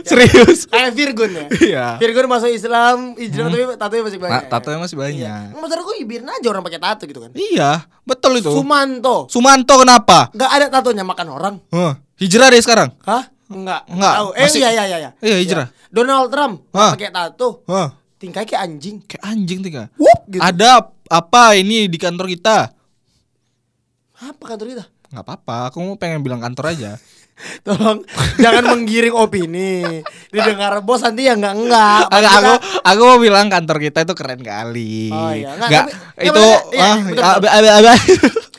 Speaker 2: Serius.
Speaker 1: Kayak Virgun ya.
Speaker 2: Iya.
Speaker 1: Virgun masuk Islam, hijrah tapi tato masih banyak.
Speaker 2: Nah, tatonya masih banyak.
Speaker 1: Iya. Maksud aku biarin aja orang pakai tato gitu kan.
Speaker 2: Iya, betul itu.
Speaker 1: Sumanto.
Speaker 2: Sumanto kenapa?
Speaker 1: Gak ada tatonya makan orang.
Speaker 2: Hah, hijrah deh sekarang.
Speaker 1: Hah? Enggak.
Speaker 2: Enggak.
Speaker 1: Tahu. Eh
Speaker 2: Masih-
Speaker 1: iya iya iya. iya.
Speaker 2: Iya, hijrah.
Speaker 1: Donald Trump nggak
Speaker 2: Hah?
Speaker 1: pakai tato.
Speaker 2: Hah,
Speaker 1: Tingkai kayak anjing.
Speaker 2: kayak anjing tiga.
Speaker 1: Wup gitu.
Speaker 2: Ada apa ini di kantor kita?
Speaker 1: Apa kantor kita?
Speaker 2: Nggak apa-apa, aku mau pengen bilang kantor aja.
Speaker 1: Tolong jangan menggiring opini. Didengar bos nanti ya enggak enggak.
Speaker 2: aku, aku aku mau bilang kantor kita itu keren kali.
Speaker 1: Oh, iya. Nggak,
Speaker 2: Nggak,
Speaker 1: tapi-
Speaker 2: itu
Speaker 1: tapi- iya,
Speaker 2: ah,
Speaker 1: betul,
Speaker 2: ah,
Speaker 1: betul.
Speaker 2: abe- abe- abe-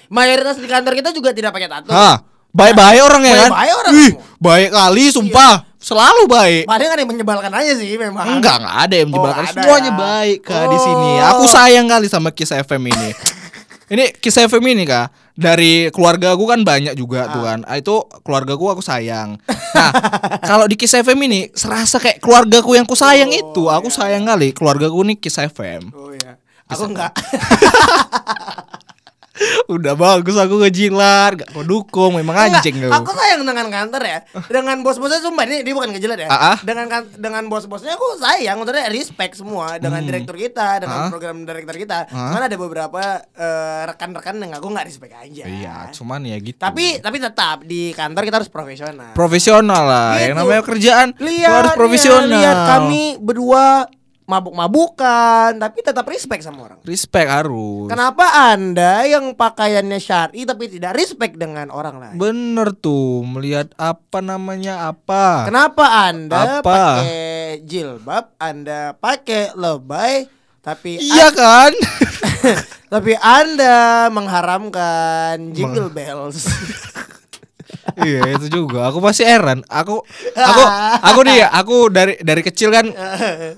Speaker 1: Mayoritas di kantor kita juga tidak pakai tato.
Speaker 2: Hah, baik-baik orang ya kan?
Speaker 1: Baik-baik orang
Speaker 2: Ih,
Speaker 1: semua. Iya.
Speaker 2: baik kali sumpah, selalu baik.
Speaker 1: Paling kan yang menyebalkan aja sih memang.
Speaker 2: Enggak, enggak ada yang menyebalkan.
Speaker 1: Oh, ada
Speaker 2: Semuanya
Speaker 1: ya.
Speaker 2: baik kak di
Speaker 1: Oh.
Speaker 2: sini. Aku sayang kali sama Kiss FM ini. ini Kiss FM ini kak. Dari keluarga aku kan banyak juga tuh kan. Ah, Itu keluarga aku aku sayang. Nah, kalau di Kiss FM ini serasa kayak keluarga aku yang ku sayang itu. Aku
Speaker 1: iya.
Speaker 2: sayang kali keluarga aku nih Kiss FM.
Speaker 1: Oh iya. Aku enggak.
Speaker 2: Udah bagus aku ngejilat, gak kau dukung, memang anjing
Speaker 1: Enggak,
Speaker 2: kau.
Speaker 1: Aku sayang dengan kantor ya. Dengan bos-bosnya sumpah ini dia bukan ngejelat ya.
Speaker 2: Ah, ah.
Speaker 1: Dengan kan- dengan bos-bosnya aku sayang, maksudnya respect semua
Speaker 2: Hmm.
Speaker 1: dengan direktur kita,
Speaker 2: Ah.
Speaker 1: dengan program direktur kita. Cuman ada beberapa eh, rekan-rekan yang aku nggak respect aja.
Speaker 2: Iya, cuman ya gitu.
Speaker 1: Tapi tapi tetap di kantor kita harus profesional.
Speaker 2: profesional lah. Yang
Speaker 1: Gitu.
Speaker 2: namanya kerjaan
Speaker 1: lihat
Speaker 2: lu harus
Speaker 1: lihat,
Speaker 2: profesional.
Speaker 1: lihat kami berdua mabuk-mabukan, tapi tetap respect sama orang.
Speaker 2: respect harus.
Speaker 1: Kenapa Anda yang pakaiannya syar'i tapi tidak respect dengan orang lain?
Speaker 2: Bener tuh melihat apa namanya apa.
Speaker 1: Kenapa Anda
Speaker 2: Apa?
Speaker 1: pakai jilbab, Anda pakai lebay, tapi
Speaker 2: Iya kan?
Speaker 1: tapi Anda mengharamkan jingle bells.
Speaker 2: iya itu juga. Aku pasti heran. Aku aku aku nih aku dari dari kecil kan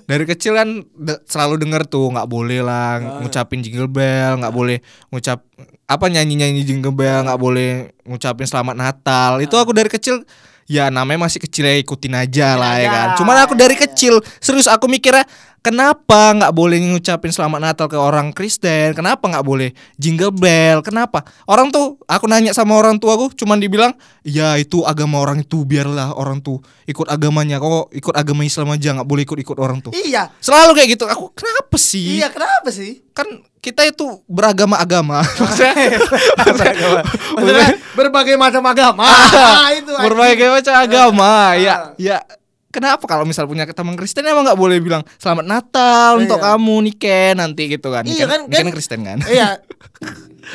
Speaker 2: dari kecil kan de- selalu denger tuh nggak boleh lah ngucapin jingle bell, nggak boleh ngucap apa nyanyi-nyanyi jingle bell, nggak boleh ngucapin selamat Natal. Itu aku dari kecil ya namanya masih kecil ya ikutin aja lah ya
Speaker 1: aja.
Speaker 2: kan. Cuman aku dari kecil serius aku mikirnya kenapa nggak boleh ngucapin selamat Natal ke orang Kristen? Kenapa nggak boleh jingle bell? Kenapa? Orang tuh aku nanya sama orang tua aku cuman dibilang ya itu agama orang itu biarlah orang tuh ikut agamanya kok ikut agama Islam aja nggak boleh ikut ikut orang tuh.
Speaker 1: iya.
Speaker 2: Selalu kayak gitu. Aku kenapa sih?
Speaker 1: Iya, kenapa sih?
Speaker 2: Kan kita itu beragama-agama. Maksudnya-
Speaker 1: Maksudnya berbagai macam agama. Ah, itu. anjing. Ah.
Speaker 2: berbagai macam agama ya ya kenapa kalau misal punya teman Kristen emang nggak boleh bilang selamat Natal untuk
Speaker 1: Iya.
Speaker 2: kamu Niken nanti gitu kan
Speaker 1: Iya kan,
Speaker 2: Niken
Speaker 1: kan-
Speaker 2: Kristen kan
Speaker 1: Iya.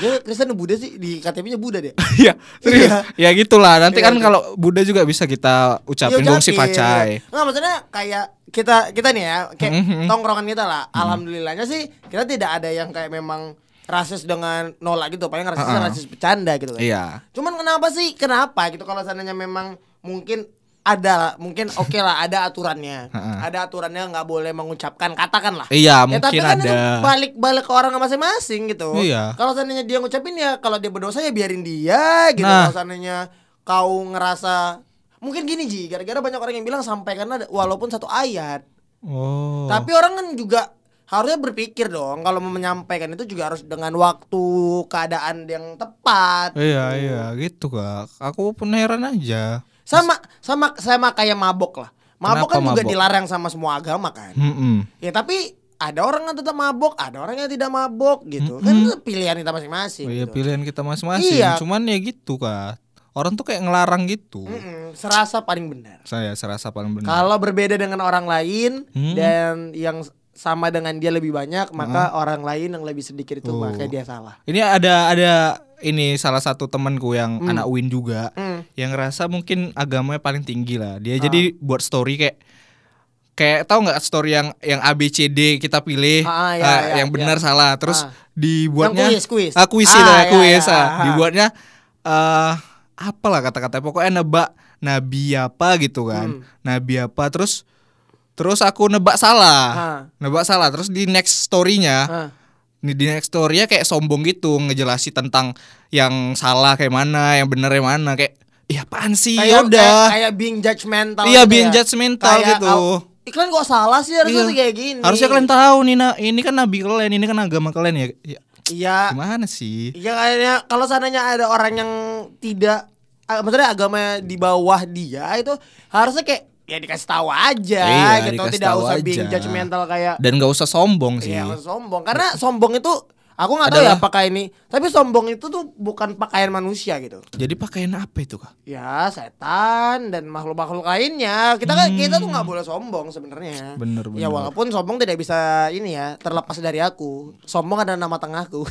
Speaker 1: Dia Kristen Buddha sih di KTP-nya Buddha dia.
Speaker 2: Iya, serius. Ya gitulah. Nanti
Speaker 1: Iya, iya.
Speaker 2: kan kalau Buddha juga bisa kita
Speaker 1: Iya,
Speaker 2: ucapin dong si
Speaker 1: ucapin.
Speaker 2: Pacai. Mhm.
Speaker 1: Nggak maksudnya kayak kita kita nih ya, kayak tongkrongan kita lah. Alhamdulillahnya sih kita tidak ada yang kayak memang rasis dengan nolak gitu, paling rasis
Speaker 2: Heeh.
Speaker 1: rasis bercanda gitu kan.
Speaker 2: Iya.
Speaker 1: Cuman kenapa sih? Kenapa gitu kalau seandainya memang mungkin ada mungkin oke lah ada aturannya
Speaker 2: Heeh.
Speaker 1: ada aturannya nggak boleh mengucapkan katakanlah
Speaker 2: Iya,
Speaker 1: Ya, tapi
Speaker 2: mungkin
Speaker 1: kan itu
Speaker 2: ada.
Speaker 1: balik balik ke orang masing-masing gitu
Speaker 2: Iya.
Speaker 1: kalau seandainya dia ngucapin ya kalau dia berdosa ya biarin dia gitu
Speaker 2: Nah.
Speaker 1: kalau seandainya kau ngerasa mungkin gini Ji gara-gara banyak orang yang bilang sampai karena walaupun satu ayat
Speaker 2: Oh.
Speaker 1: tapi orang kan juga harusnya berpikir dong kalau mau menyampaikan itu juga harus dengan waktu keadaan yang tepat
Speaker 2: Iya, iya, gitu kak. Aku pun heran aja.
Speaker 1: sama sama sama kayak mabok lah mabok
Speaker 2: Kenapa
Speaker 1: kan juga
Speaker 2: mabok?
Speaker 1: dilarang sama semua agama kan
Speaker 2: Mm-mm.
Speaker 1: ya tapi ada orang yang tetap mabok ada orang yang tidak mabok gitu kan itu pilihan kita masing-masing
Speaker 2: Oh, Iya,
Speaker 1: gitu.
Speaker 2: pilihan kita masing-masing.
Speaker 1: Iya.
Speaker 2: Cuman ya gitu kak. Orang tuh kayak ngelarang gitu.
Speaker 1: Mm-mm, serasa paling benar
Speaker 2: Saya serasa paling benar.
Speaker 1: kalau berbeda dengan orang lain
Speaker 2: Hmm.
Speaker 1: dan yang sama dengan dia lebih banyak maka orang lain yang lebih sedikit
Speaker 2: Oh.
Speaker 1: itu maka dia salah
Speaker 2: Ini ada ada ini salah satu temanku yang anak Win juga
Speaker 1: Hmm. Ah.
Speaker 2: yang ngerasa mungkin agamanya paling tinggi lah. Dia jadi buat story kayak kayak tahu nggak story yang yang ABCD kita pilih
Speaker 1: Ah, ah, iya,
Speaker 2: ah,
Speaker 1: iya,
Speaker 2: yang
Speaker 1: iya.
Speaker 2: benar salah terus
Speaker 1: Ah.
Speaker 2: dibuatnya
Speaker 1: Yang kuis, kuis.
Speaker 2: Ah, kuis
Speaker 1: Ah,
Speaker 2: itu,
Speaker 1: iya,
Speaker 2: kuis,
Speaker 1: iya,
Speaker 2: ah.
Speaker 1: ah.
Speaker 2: dibuatnya eh apalah kata-kata pokoknya nebak nabi apa gitu
Speaker 1: Hmm.
Speaker 2: kan nabi apa terus terus aku nebak salah
Speaker 1: Ah.
Speaker 2: nebak salah terus di next story-nya
Speaker 1: Ah.
Speaker 2: di di next story-nya kayak sombong gitu ngejelasi tentang yang salah kayak mana yang bener yang mana kayak iya apaan sih
Speaker 1: Kayak-
Speaker 2: udah
Speaker 1: kayak, kayak being judgmental
Speaker 2: Iya,
Speaker 1: gitu
Speaker 2: being
Speaker 1: ya.
Speaker 2: judgmental gitu.
Speaker 1: "Au, ih, kalian kok salah sih harusnya
Speaker 2: Iya.
Speaker 1: tuh kayak gini
Speaker 2: Harusnya kalian tahu nih, nah, ini kan nabi kalian, ini kan agama kalian ya. Ya,
Speaker 1: iya
Speaker 2: Gimana sih?
Speaker 1: iya kayaknya kalau seandainya ada orang yang tidak ah, maksudnya agama di bawah dia itu harusnya kayak ya dikasih tahu aja
Speaker 2: Iya,
Speaker 1: gitu
Speaker 2: dikasih
Speaker 1: tidak
Speaker 2: tahu
Speaker 1: usah being
Speaker 2: aja.
Speaker 1: judgmental kayak
Speaker 2: Dan gak usah sombong sih.
Speaker 1: Iya sombong karena sombong itu aku nggak tahu ya
Speaker 2: Adalah-
Speaker 1: apakah ini tapi sombong itu tuh bukan pakaian manusia gitu
Speaker 2: Jadi pakaian apa itu kak?
Speaker 1: ya setan dan makhluk-makhluk lainnya kita kan kita tuh nggak boleh sombong sebenarnya
Speaker 2: Hmm. Bener,
Speaker 1: ya
Speaker 2: bener.
Speaker 1: walaupun sombong tidak bisa ini ya terlepas dari aku sombong ada nama tengahku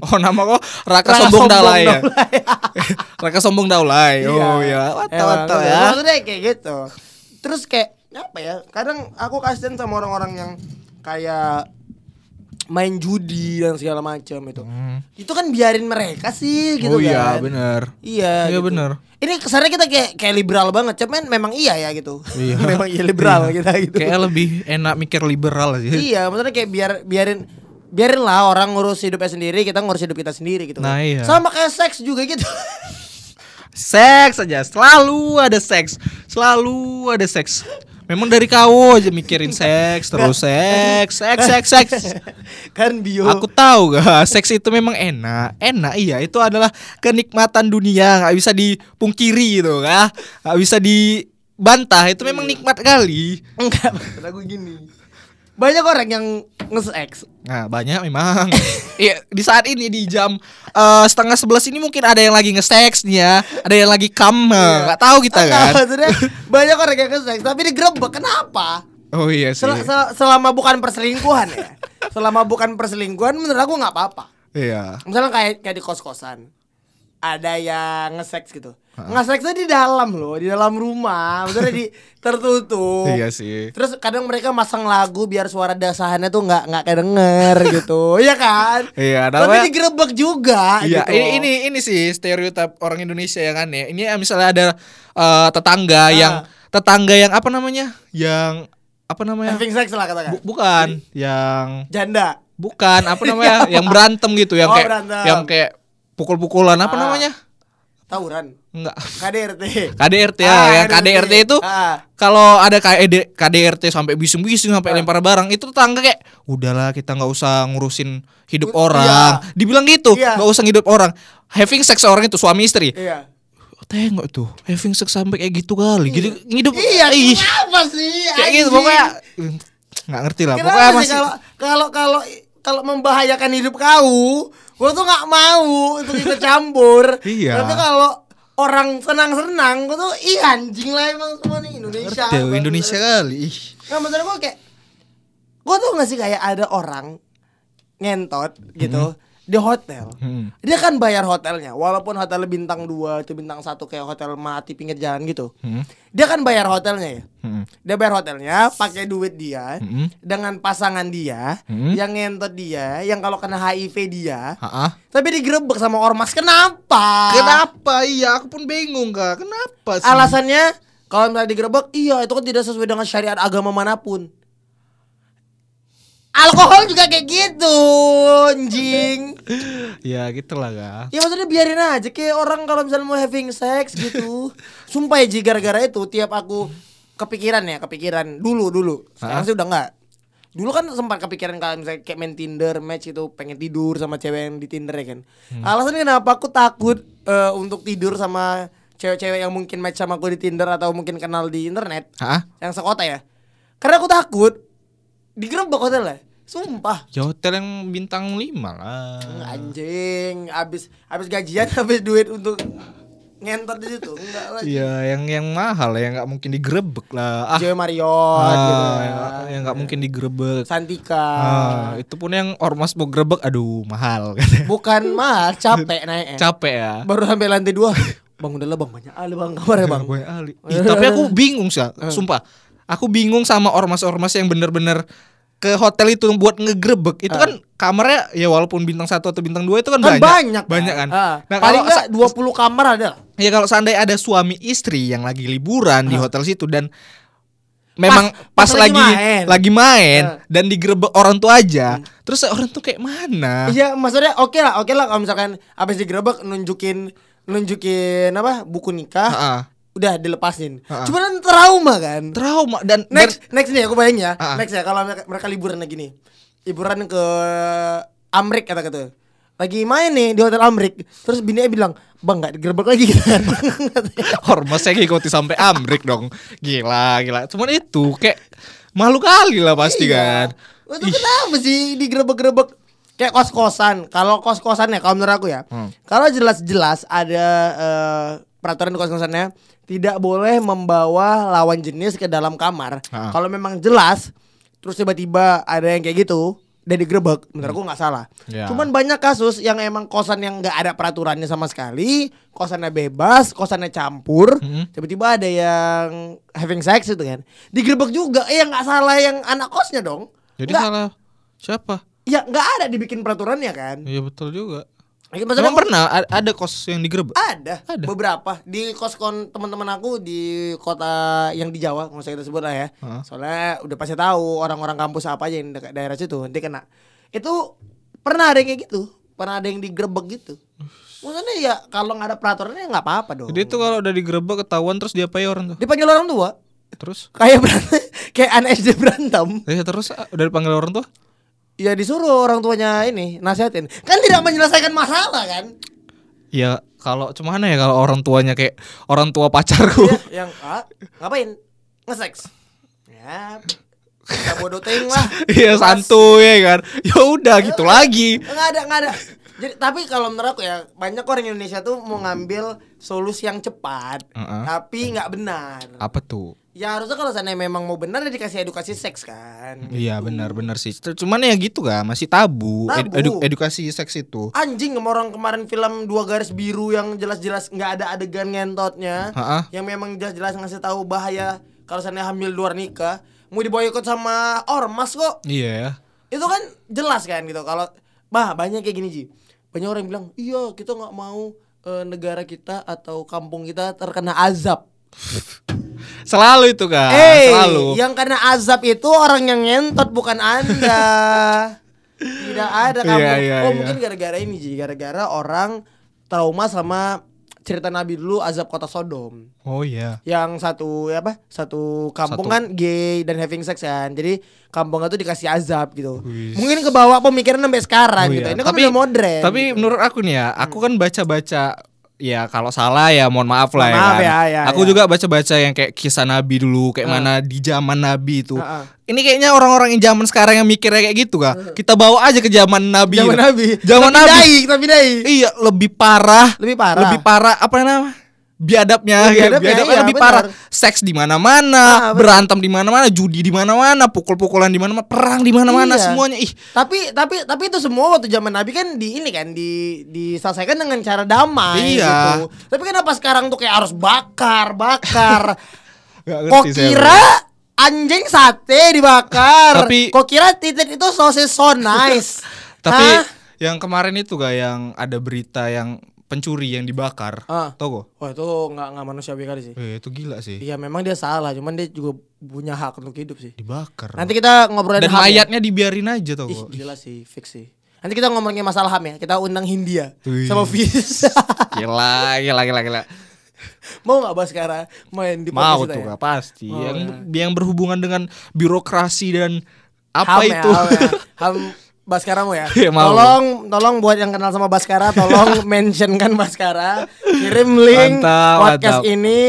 Speaker 2: Oh nama kok Raka,
Speaker 1: Raka
Speaker 2: Sombong
Speaker 1: Sombong
Speaker 2: Daulay ya?
Speaker 1: Daulay.
Speaker 2: Raka Sombong Daulay. Oh
Speaker 1: Iya.
Speaker 2: ya, wato
Speaker 1: Emang,
Speaker 2: wato
Speaker 1: bener.
Speaker 2: ya.
Speaker 1: Maksudnya kayak gitu terus kayak apa ya kadang aku kasihan sama orang-orang yang kayak main judi dan segala macam itu itu kan biarin mereka sih gitu
Speaker 2: Hmm. oh iya
Speaker 1: kan
Speaker 2: bener.
Speaker 1: Iya.
Speaker 2: Iya,
Speaker 1: gitu.
Speaker 2: bener.
Speaker 1: Ini kesannya kita kayak kayak liberal banget, cuman memang iya ya gitu.
Speaker 2: Iya.
Speaker 1: memang iya liberal kita gitu.
Speaker 2: Kayak lebih enak mikir liberal sih.
Speaker 1: iya, maksudnya kayak biar biarin biarin lah orang ngurus hidupnya sendiri, kita ngurus hidup kita sendiri gitu.
Speaker 2: Nah, iya.
Speaker 1: Sama kayak seks juga gitu.
Speaker 2: Seks aja, selalu ada seks, selalu ada seks. Memang dari kau aja mikirin seks terus seks, seks, seks, seks.
Speaker 1: kan bio.
Speaker 2: Aku tahu gak, seks itu memang enak, enak iya itu adalah kenikmatan dunia nggak bisa dipungkiri gitu kan, nggak bisa dibantah itu memang nikmat kali.
Speaker 1: enggak, maksud aku gini. Banyak orang yang nge-seks.
Speaker 2: Nah banyak memang. Iya di saat ini di jam eh, setengah sebelas ini mungkin ada yang lagi nge-seks nih ya, ada yang lagi kam, eh, nggak tahu kita
Speaker 1: Enggak,
Speaker 2: kan.
Speaker 1: Iya. maksudnya banyak orang yang nge-seks tapi digerebek. Kenapa?
Speaker 2: Oh iya sih.
Speaker 1: Sel- sel- selama bukan perselingkuhan ya. selama bukan perselingkuhan menurut aku nggak apa-apa.
Speaker 2: Iya.
Speaker 1: misalnya kayak kayak di kos kosan ada yang nge-sex gitu
Speaker 2: Ah.
Speaker 1: nge-sexnya di dalam loh di dalam rumah maksudnya di tertutup
Speaker 2: Iya sih.
Speaker 1: terus kadang mereka masang lagu biar suara dasahannya tuh nggak nggak kedenger gitu Iya kan
Speaker 2: Iya, namanya-
Speaker 1: tapi digerebek juga
Speaker 2: Iya,
Speaker 1: gitu.
Speaker 2: ini, ini ini sih stereotip orang Indonesia yang aneh. Ini eh, misalnya ada eh,
Speaker 1: Ah.
Speaker 2: tetangga yang tetangga yang apa namanya? Yang apa namanya?
Speaker 1: having sex lah katakan
Speaker 2: Ya. Bu- bukan, yang
Speaker 1: janda
Speaker 2: bukan apa namanya? yang berantem gitu, yang
Speaker 1: Oh,
Speaker 2: kayak
Speaker 1: berantem.
Speaker 2: yang kayak pukul-pukulan apa
Speaker 1: Ah.
Speaker 2: namanya?
Speaker 1: tawuran
Speaker 2: Enggak.
Speaker 1: KDRT
Speaker 2: KDRT ya,
Speaker 1: Ah,
Speaker 2: yang KDRT itu
Speaker 1: Ah.
Speaker 2: kalau ada E KED KDRT sampai bising-bising sampai
Speaker 1: Nah.
Speaker 2: lempar barang itu tetangga kayak udahlah kita nggak usah ngurusin hidup orang. Dibilang gitu,
Speaker 1: Iya.
Speaker 2: nggak usah hidup orang. Having sex orang itu suami istri.
Speaker 1: iya
Speaker 2: Tengok tuh, having sex sampai kayak gitu kali. Gitu ngidup.
Speaker 1: iya
Speaker 2: ih,
Speaker 1: kenapa sih
Speaker 2: kayak gitu
Speaker 1: anjing?
Speaker 2: pokoknya mm, nggak ngerti lah. Pokoknya
Speaker 1: Kenapa sih
Speaker 2: masih
Speaker 1: kalau kalau kalau kalau membahayakan hidup kau, gua tuh nggak mau itu ikut campur.
Speaker 2: Iya.
Speaker 1: Tapi kalau orang senang-senang, gua tuh ih anjing lah emang semua nih Indonesia.
Speaker 2: Tuh, Indonesia kali. Ih,
Speaker 1: Nah, maksud gua kayak gua tuh nggak sih kayak ada orang ngentot gitu
Speaker 2: Mm-hmm.
Speaker 1: di hotel.
Speaker 2: Hmm.
Speaker 1: Dia kan bayar hotelnya, walaupun hotel bintang 2 itu bintang satu kayak hotel mati pinggir jalan gitu.
Speaker 2: Hmm.
Speaker 1: Dia kan bayar hotelnya ya
Speaker 2: Mm.
Speaker 1: dia bayar hotelnya pakai duit dia
Speaker 2: Mm-mm.
Speaker 1: dengan pasangan dia
Speaker 2: Mm.
Speaker 1: yang ngentot dia yang kalau kena HIV dia
Speaker 2: Ha-ah.
Speaker 1: tapi digerebek sama ormas kenapa
Speaker 2: Kenapa? Iya, aku pun bingung kak. Kenapa sih?
Speaker 1: alasannya kalau misalnya digerebek iya itu kan tidak sesuai dengan syariat agama manapun alkohol juga kayak gitu anjing
Speaker 2: Ya gitulah kak.
Speaker 1: Ya maksudnya biarin aja kayak orang kalau misalnya mau having sex gitu. Sumpah ya Ji, gara-gara itu tiap aku kepikiran ya, kepikiran dulu dulu. Sekarang sih udah enggak. Dulu kan sempat kepikiran kalau misalnya kayak main Tinder match itu pengen tidur sama cewek yang di Tinder ya kan. Alasannya kenapa aku takut eh, untuk tidur sama cewek-cewek yang mungkin match sama aku di Tinder atau mungkin kenal di internet
Speaker 2: Ha-ah.
Speaker 1: yang sekota ya. Karena aku takut digerebek hotelnya. Sumpah.
Speaker 2: Ya hotel yang bintang 5 lah.
Speaker 1: Enggak, anjing habis habis gajian habis duit untuk ngentot di situ enggak lah
Speaker 2: Iya, yang yang mahal ya, nggak mungkin digerebek lah. Ah,
Speaker 1: Joy Marriott Iya, gitu
Speaker 2: ah,
Speaker 1: ya.
Speaker 2: yang- yang nggak mungkin digerebek.
Speaker 1: Santika
Speaker 2: Ah, itu pun yang ormas mau gerebek, aduh mahal kan.
Speaker 1: bukan mahal capek naiknya
Speaker 2: Capek ya.
Speaker 1: baru sampai lantai
Speaker 2: Iya,
Speaker 1: dua bang Hmm. udah lah bang banyak ali bang kamar ya bang
Speaker 2: Boy Ali. Ih, tapi aku bingung sih, sumpah. Aku bingung sama ormas-ormas yang bener-bener ke hotel itu buat ngegrebek itu kan kamarnya ya walaupun bintang satu atau bintang dua itu kan,
Speaker 1: Ah. kan banyak
Speaker 2: banyak kan
Speaker 1: Ah.
Speaker 2: nah
Speaker 1: paling
Speaker 2: kalau
Speaker 1: enggak 20 kamar ada lah.
Speaker 2: Ya kalau seandainya ada suami istri yang lagi liburan di hotel situ dan memang pas,
Speaker 1: pas lagi
Speaker 2: lagi
Speaker 1: main. Hmm.
Speaker 2: lagi main
Speaker 1: Eh.
Speaker 2: dan digerebek orang tua aja, terus orang tuh kayak mana?
Speaker 1: Iya, maksudnya oke lah, oke lah kalau misalkan abis digerebek nunjukin nunjukin apa buku nikah,
Speaker 2: Ah, ah.
Speaker 1: udah dilepasin.
Speaker 2: Ah, ah.
Speaker 1: Cuman kan trauma kan.
Speaker 2: Trauma dan
Speaker 1: Next, next nih aku bayangin ya.
Speaker 2: Ah, ah.
Speaker 1: Next ya kalau mereka, mereka liburan lagi nih. Liburan ke Amrik kata kata. Lagi main nih di hotel Amrik. Terus bininya bilang, "Bang, enggak digerebek lagi gitu kan."
Speaker 2: ber- ormasnya ngikuti sampai Amrik dong. Gila, gila. Cuman itu kayak malu kali lah pasti kan.
Speaker 1: Iya. Itu kenapa sih digerebek-gerebek kayak kos-kosan? Kalau kos-kosan ya kalau menurut aku ya.
Speaker 2: Hmm.
Speaker 1: Kalau jelas-jelas ada eh, peraturan di kos-kosannya tidak boleh membawa lawan jenis ke dalam kamar.
Speaker 2: Ha.
Speaker 1: Kalau memang jelas terus tiba-tiba ada yang kayak gitu dan digerebek, menurut aku nggak salah.
Speaker 2: Ya.
Speaker 1: Cuman banyak kasus yang emang kosan yang nggak ada peraturannya sama sekali, kosannya bebas, kosannya campur,
Speaker 2: Hmm.
Speaker 1: tiba-tiba ada yang having sex itu kan, digerebek juga, eh yang nggak salah yang anak kosnya dong,
Speaker 2: Jadi
Speaker 1: Nggak-
Speaker 2: salah siapa?
Speaker 1: ya nggak ada dibikin peraturannya kan,
Speaker 2: Iya betul juga.
Speaker 1: Maksudnya
Speaker 2: Hmm. Emang pernah a- ada kos yang digerebek?
Speaker 1: ada,
Speaker 2: Ada.
Speaker 1: beberapa di koskon teman-teman aku di kota yang di Jawa, nggak usah kita sebut lah ya,
Speaker 2: Ha.
Speaker 1: soalnya udah pasti tahu orang-orang kampus apa aja yang dekat daerah situ nanti kena, itu pernah ada yang kayak gitu, pernah ada yang digerebek gitu. Maksudnya ya kalau nggak ada peraturannya nggak apa-apa dong.
Speaker 2: Jadi itu kalau udah digerebek ketahuan terus diapain orang tuh?
Speaker 1: dipanggil orang tua
Speaker 2: Terus?
Speaker 1: kayak berantem kayak anak SD berantem
Speaker 2: Ya, terus ah, udah dipanggil orang tua?
Speaker 1: ya disuruh orang tuanya ini nasihatin kan tidak menyelesaikan masalah kan
Speaker 2: Ya kalau cuman ya kalau orang tuanya kayak orang tua pacarku.
Speaker 1: yang ah, ngapain ngeseks ya kita bodoh ting lah
Speaker 2: Iya santuy ya kan. Ya udah gitu lagi.
Speaker 1: nggak ada nggak ada jadi tapi kalau menurut aku ya banyak orang Indonesia tuh mau ngambil solusi yang cepat
Speaker 2: Heeh.
Speaker 1: tapi nggak benar
Speaker 2: Apa tuh?
Speaker 1: ya harusnya kalau sana memang mau benar ya dikasih edukasi seks kan
Speaker 2: Iya benar-benar sih. Ter- Cuman ya gitu kan masih tabu, Ed-
Speaker 1: Tabu.
Speaker 2: edu- edukasi seks itu.
Speaker 1: Anjing sama orang kemarin film dua garis biru yang jelas-jelas nggak ada adegan ngentotnya,
Speaker 2: Ha-ah.
Speaker 1: yang memang jelas-jelas ngasih tahu bahaya kalau sana hamil luar nikah, mau diboykot sama ormas kok.
Speaker 2: Iya ya.
Speaker 1: Itu kan jelas kan gitu. Kalau bah banyak kayak gini Ji. Banyak orang yang bilang, "Iya, kita nggak mau eh, negara kita atau kampung kita terkena azab."
Speaker 2: Selalu itu kan,
Speaker 1: Eh,
Speaker 2: selalu.
Speaker 1: yang kena azab itu orang yang ngentot bukan Anda. Tidak ada kamu.
Speaker 2: Iya, iya,
Speaker 1: oh,
Speaker 2: iya.
Speaker 1: mungkin gara-gara ini Ji, gara-gara orang trauma sama cerita Nabi dulu azab kota Sodom.
Speaker 2: Oh iya.
Speaker 1: Yang satu ya apa? Satu kampung
Speaker 2: Satu.
Speaker 1: kan gay dan having sex kan. Jadi kampungnya tuh dikasih azab gitu.
Speaker 2: Wis.
Speaker 1: Mungkin kebawa pemikiran sampai sekarang
Speaker 2: Oh,
Speaker 1: gitu.
Speaker 2: iya.
Speaker 1: Ini kan udah modern.
Speaker 2: Tapi
Speaker 1: gitu.
Speaker 2: menurut aku nih ya, aku kan baca-baca ya kalau salah ya mohon maaf lah
Speaker 1: Mohon
Speaker 2: ya,
Speaker 1: maaf
Speaker 2: kan.
Speaker 1: ya, ya,
Speaker 2: aku
Speaker 1: ya.
Speaker 2: juga baca-baca yang kayak kisah Nabi dulu kayak mana di zaman Nabi itu.
Speaker 1: Ah, ah.
Speaker 2: Ini kayaknya orang-orang yang zaman sekarang yang mikirnya kayak gitu kak. Kita bawa aja ke zaman Nabi.
Speaker 1: zaman Nabi.
Speaker 2: Zaman
Speaker 1: Tapi
Speaker 2: Nabi.
Speaker 1: dai, tapi dai.
Speaker 2: Iya, lebih parah.
Speaker 1: Lebih parah.
Speaker 2: Lebih parah apa namanya? Biadabnya,
Speaker 1: Lebih
Speaker 2: gitu.
Speaker 1: biadabnya,
Speaker 2: biadabnya
Speaker 1: iya,
Speaker 2: lebih
Speaker 1: benar.
Speaker 2: parah. Seks di mana-mana,
Speaker 1: Ah, benar.
Speaker 2: berantem di mana-mana, judi di mana-mana, pukul-pukulan di mana-mana, perang di mana-mana,
Speaker 1: Iya.
Speaker 2: semuanya. Ih,
Speaker 1: Tapi tapi tapi itu semua waktu zaman Nabi kan di ini kan di diselesaikan dengan cara damai
Speaker 2: Iya.
Speaker 1: gitu. Tapi kenapa sekarang tuh kayak harus bakar, bakar.
Speaker 2: Nggak
Speaker 1: Kok
Speaker 2: ngerti saya,
Speaker 1: kira anjing sate dibakar?
Speaker 2: Tapi-
Speaker 1: Kok kira titik itu sosis so nice?
Speaker 2: Tapi
Speaker 1: Hah?
Speaker 2: yang kemarin itu gak yang ada berita yang pencuri yang dibakar,
Speaker 1: Ah.
Speaker 2: tau gak?
Speaker 1: Wah itu nggak nggak manusiawi kali sih.
Speaker 2: Eh, itu gila sih,
Speaker 1: Iya memang dia salah, cuman dia juga punya hak untuk hidup sih.
Speaker 2: dibakar.
Speaker 1: Nanti kita ngobrolin
Speaker 2: Dan
Speaker 1: HAM ya.
Speaker 2: mayatnya dibiarin aja tau
Speaker 1: Ih,
Speaker 2: gak?
Speaker 1: gila sih, fix sih. Nanti kita ngomongin masalah HAM ya. Kita undang Hindia
Speaker 2: Wih.
Speaker 1: sama Fis.
Speaker 2: Gila, gila, gila, gila.
Speaker 1: Mau nggak Baskara main di podcast
Speaker 2: mau
Speaker 1: kita
Speaker 2: tuh
Speaker 1: ya?
Speaker 2: Kak, pasti
Speaker 1: Mau
Speaker 2: yang yang berhubungan dengan birokrasi dan apa
Speaker 1: Ham ya,
Speaker 2: itu
Speaker 1: ham ya. Ham Baskara mau ya.
Speaker 2: Iya, mau.
Speaker 1: Tolong tolong buat yang kenal sama Baskara tolong mentionkan Baskara, kirim link
Speaker 2: Mantap,
Speaker 1: podcast
Speaker 2: mantap.
Speaker 1: ini.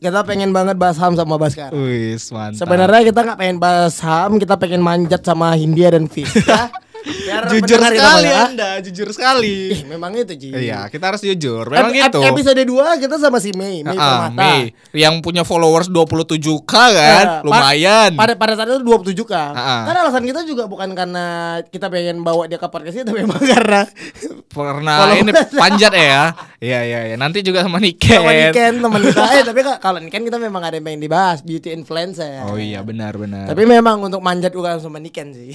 Speaker 1: Kita pengen banget bahas ham sama Baskara.
Speaker 2: Wis, mantap.
Speaker 1: Sebenarnya kita nggak pengen bahas ham, kita pengen manjat sama Hindia dan Fis ya. Biar
Speaker 2: jujur
Speaker 1: pendengar kita
Speaker 2: sekali
Speaker 1: banyak, ah.
Speaker 2: Anda, jujur sekali.
Speaker 1: Ih, memang itu Ji.
Speaker 2: Iya, kita harus jujur. Memang
Speaker 1: Ep- ep-
Speaker 2: gitu.
Speaker 1: Episode 2 kita sama si Mei, Mei
Speaker 2: Ah,
Speaker 1: Permata.
Speaker 2: Mei, yang punya followers 27k kan,
Speaker 1: Nah, pa-
Speaker 2: lumayan.
Speaker 1: Pada pada saat itu 27 kan.
Speaker 2: Ah, ah.
Speaker 1: Kan alasan kita juga bukan karena kita pengen bawa dia ke podcast ini tapi memang karena
Speaker 2: Pernah
Speaker 1: Followers.
Speaker 2: ini panjat ya. Iya, iya, iya. Nanti juga sama Niken.
Speaker 1: sama Niken teman kita. Eh tapi ka- kalau Niken kita memang ada yang pengen dibahas beauty influencer.
Speaker 2: Oh iya, benar benar.
Speaker 1: Tapi memang untuk manjat bukan sama Niken sih.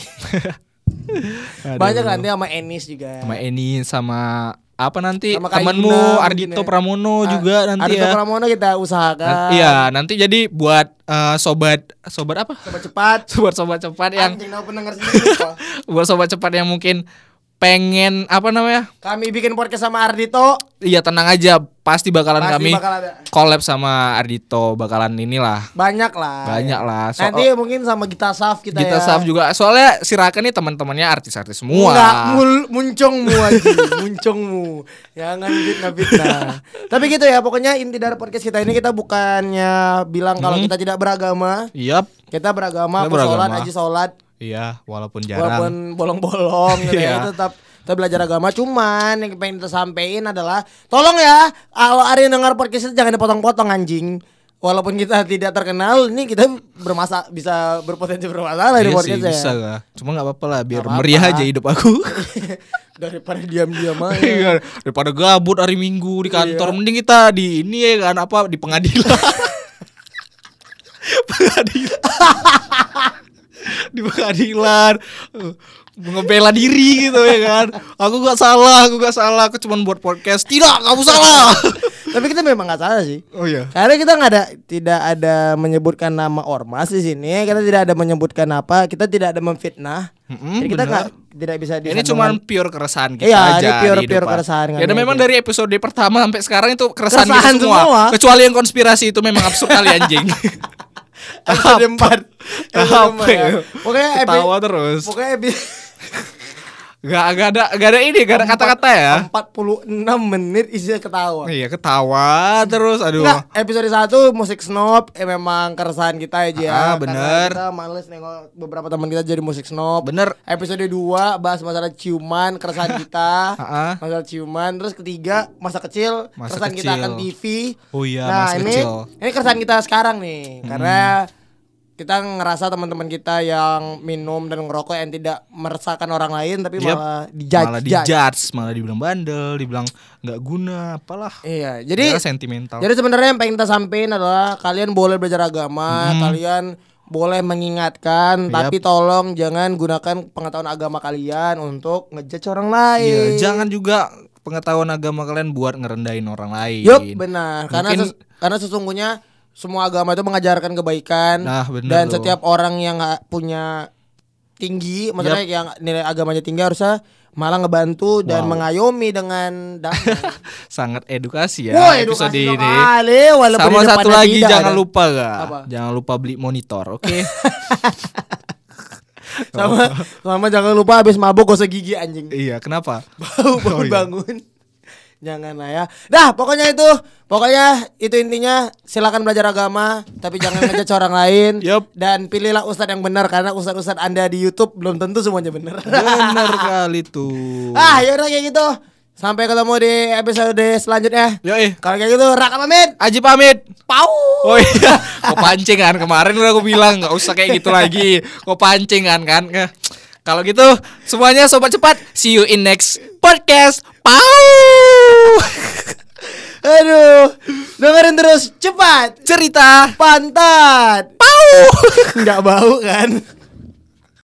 Speaker 2: Aduh.
Speaker 1: Banyak nanti sama Enis juga.
Speaker 2: sama Eni sama apa nanti
Speaker 1: Sama Kak
Speaker 2: temanmu
Speaker 1: Yuna mungkin
Speaker 2: Ardito
Speaker 1: ya.
Speaker 2: Pramono juga
Speaker 1: Ah,
Speaker 2: nanti
Speaker 1: Ardhito
Speaker 2: ya.
Speaker 1: Pramono kita usahakan.
Speaker 2: Nan- Iya, nanti jadi buat eh, sobat sobat apa?
Speaker 1: Coba cepat.
Speaker 2: Buat sobat cepat yang
Speaker 1: Anjing tahu pendengar sendiri. kok.
Speaker 2: buat sobat cepat yang mungkin pengen apa namanya?
Speaker 1: Kami bikin podcast sama Ardito.
Speaker 2: Iya, tenang aja, pasti bakalan
Speaker 1: Pasti
Speaker 2: kami
Speaker 1: bakal ada.
Speaker 2: collab sama Ardito bakalan inilah.
Speaker 1: Banyak lah.
Speaker 2: Banyak lah. So-
Speaker 1: Nanti mungkin sama Gita Saf kita
Speaker 2: Gita
Speaker 1: ya.
Speaker 2: Saf juga soalnya Siraka nih teman-temannya artis-artis semua.
Speaker 1: Enggak, mul muncungmu aja, muncungmu. Jangan fitnah fitnah. Tapi gitu ya, pokoknya inti dari podcast kita ini kita bukannya bilang kalau kita tidak beragama.
Speaker 2: Yap.
Speaker 1: Kita beragama,
Speaker 2: Hmm.
Speaker 1: aku
Speaker 2: Kita
Speaker 1: sholat,
Speaker 2: beragama.
Speaker 1: aji sholat,
Speaker 2: Iya, walaupun jarang.
Speaker 1: walaupun bolong-bolong gitu ya,
Speaker 2: Iya.
Speaker 1: tetap kita belajar agama cuman yang pengen kita sampein adalah tolong ya kalau ada yang dengar podcast ini jangan dipotong-potong anjing walaupun kita tidak terkenal ini kita bermasa bisa berpotensi bermasalah di
Speaker 2: Iya sih,
Speaker 1: podcast ya
Speaker 2: bisa lah. Cuma nggak apa-apa lah, biar
Speaker 1: Nggak apa-apa. Iya.
Speaker 2: meriah aja hidup aku.
Speaker 1: daripada diam-diam aja
Speaker 2: Iya, daripada gabut hari Minggu di
Speaker 1: Iya.
Speaker 2: kantor mending kita di ini ya kan apa di pengadilan. pengadilan. di pengadilan eh, ngebela diri gitu ya kan. Aku gak salah, aku gak salah, aku cuma buat podcast. Tidak, kamu salah.
Speaker 1: tapi kita memang nggak salah sih
Speaker 2: Oh iya.
Speaker 1: Karena kita nggak ada tidak ada menyebutkan nama ormas di sini, kita tidak ada menyebutkan apa, kita tidak ada memfitnah.
Speaker 2: Mm-mm,
Speaker 1: Jadi kita
Speaker 2: benar.
Speaker 1: nggak tidak bisa
Speaker 2: Ini
Speaker 1: disandungkan.
Speaker 2: cuman pure keresahan kita
Speaker 1: Iya,
Speaker 2: aja.
Speaker 1: ini pure-
Speaker 2: di hidup
Speaker 1: pure
Speaker 2: aku.
Speaker 1: keresahan
Speaker 2: Ya, dan
Speaker 1: kami
Speaker 2: memang
Speaker 1: aja.
Speaker 2: dari episode pertama sampai sekarang itu keresahan, kita
Speaker 1: Keresahan
Speaker 2: semua.
Speaker 1: semua.
Speaker 2: Kecuali yang konspirasi itu memang absurd kali anjing.
Speaker 1: episode empat. Episode
Speaker 2: Apa
Speaker 1: empat ya.
Speaker 2: ya?
Speaker 1: Pokoknya epi-
Speaker 2: Ketawa terus.
Speaker 1: Pokoknya episode
Speaker 2: Gak, gak ada gak ada ini, gak ada kata-kata ya.
Speaker 1: 46 menit isinya ketawa.
Speaker 2: Iya, ketawa terus. Aduh.
Speaker 1: Enggak, episode 1 musik snob eh, memang keresahan kita aja ya.
Speaker 2: Ah,
Speaker 1: Karena
Speaker 2: bener.
Speaker 1: Kita males nengok beberapa teman kita jadi musik snob.
Speaker 2: Bener.
Speaker 1: Episode 2 bahas masalah ciuman, keresahan kita.
Speaker 2: Ah.
Speaker 1: masalah ciuman, terus ketiga masa kecil,
Speaker 2: Masa
Speaker 1: keresahan kita
Speaker 2: kecil.
Speaker 1: akan TV.
Speaker 2: Oh iya,
Speaker 1: nah,
Speaker 2: masa
Speaker 1: ini
Speaker 2: kecil. Hmm.
Speaker 1: ini keresahan kita sekarang nih karena kita ngerasa teman-teman kita yang minum dan ngerokok yang tidak meresahkan orang lain tapi
Speaker 2: Yep.
Speaker 1: malah dijudge.
Speaker 2: malah
Speaker 1: judge.
Speaker 2: dijudge, malah dibilang bandel, dibilang nggak guna, apalah.
Speaker 1: Iya,
Speaker 2: Jadi
Speaker 1: jadi
Speaker 2: sentimental.
Speaker 1: Jadi sebenarnya yang pengen kita sampaikan adalah kalian boleh belajar
Speaker 2: Hmm.
Speaker 1: agama, kalian boleh mengingatkan, tapi tolong jangan gunakan pengetahuan agama kalian untuk ngejudge orang
Speaker 2: Iya,
Speaker 1: lain.
Speaker 2: jangan juga pengetahuan agama kalian buat ngerendahin orang lain.
Speaker 1: Yup, benar. Karena
Speaker 2: Mungkin-
Speaker 1: ses- karena sesungguhnya semua agama itu mengajarkan kebaikan
Speaker 2: Nah, benar
Speaker 1: dan
Speaker 2: tuh.
Speaker 1: setiap orang yang nggak punya tinggi, maksudnya yang nilai agamanya tinggi harusnya malah ngebantu dan mengayomi dengan damai.
Speaker 2: Sangat edukasi ya
Speaker 1: Wah,
Speaker 2: episode
Speaker 1: edukasi
Speaker 2: ini.
Speaker 1: sekali, walaupun
Speaker 2: Sama
Speaker 1: di
Speaker 2: satu
Speaker 1: depannya
Speaker 2: lagi
Speaker 1: tidak
Speaker 2: jangan
Speaker 1: ada.
Speaker 2: lupa gak?
Speaker 1: Apa?
Speaker 2: Jangan lupa beli monitor, oke?
Speaker 1: sama sama jangan lupa habis mabuk gosok gigi anjing.
Speaker 2: iya, kenapa?
Speaker 1: bau bangun bangun jangan lah ya dah pokoknya itu pokoknya itu intinya silakan belajar agama tapi jangan ngejudge orang lain
Speaker 2: Yup.
Speaker 1: dan pilihlah ustadz yang benar karena ustadz-ustadz anda di YouTube belum tentu semuanya benar
Speaker 2: Bener kali tuh.
Speaker 1: ah yaudah kayak gitu sampai ketemu di episode selanjutnya
Speaker 2: Yoi,
Speaker 1: kalau kayak gitu raka pamit
Speaker 2: eh, Aji pamit.
Speaker 1: pau
Speaker 2: Oh iya, kok pancing kan kemarin udah aku bilang nggak usah kayak gitu lagi. Kok pancing kan kan? Eh, Kalau gitu semuanya sobat cepat, see you in next podcast. Pau.
Speaker 1: aduh dengerin terus cepat
Speaker 2: Cerita
Speaker 1: pantat
Speaker 2: pau.
Speaker 1: nggak bau kan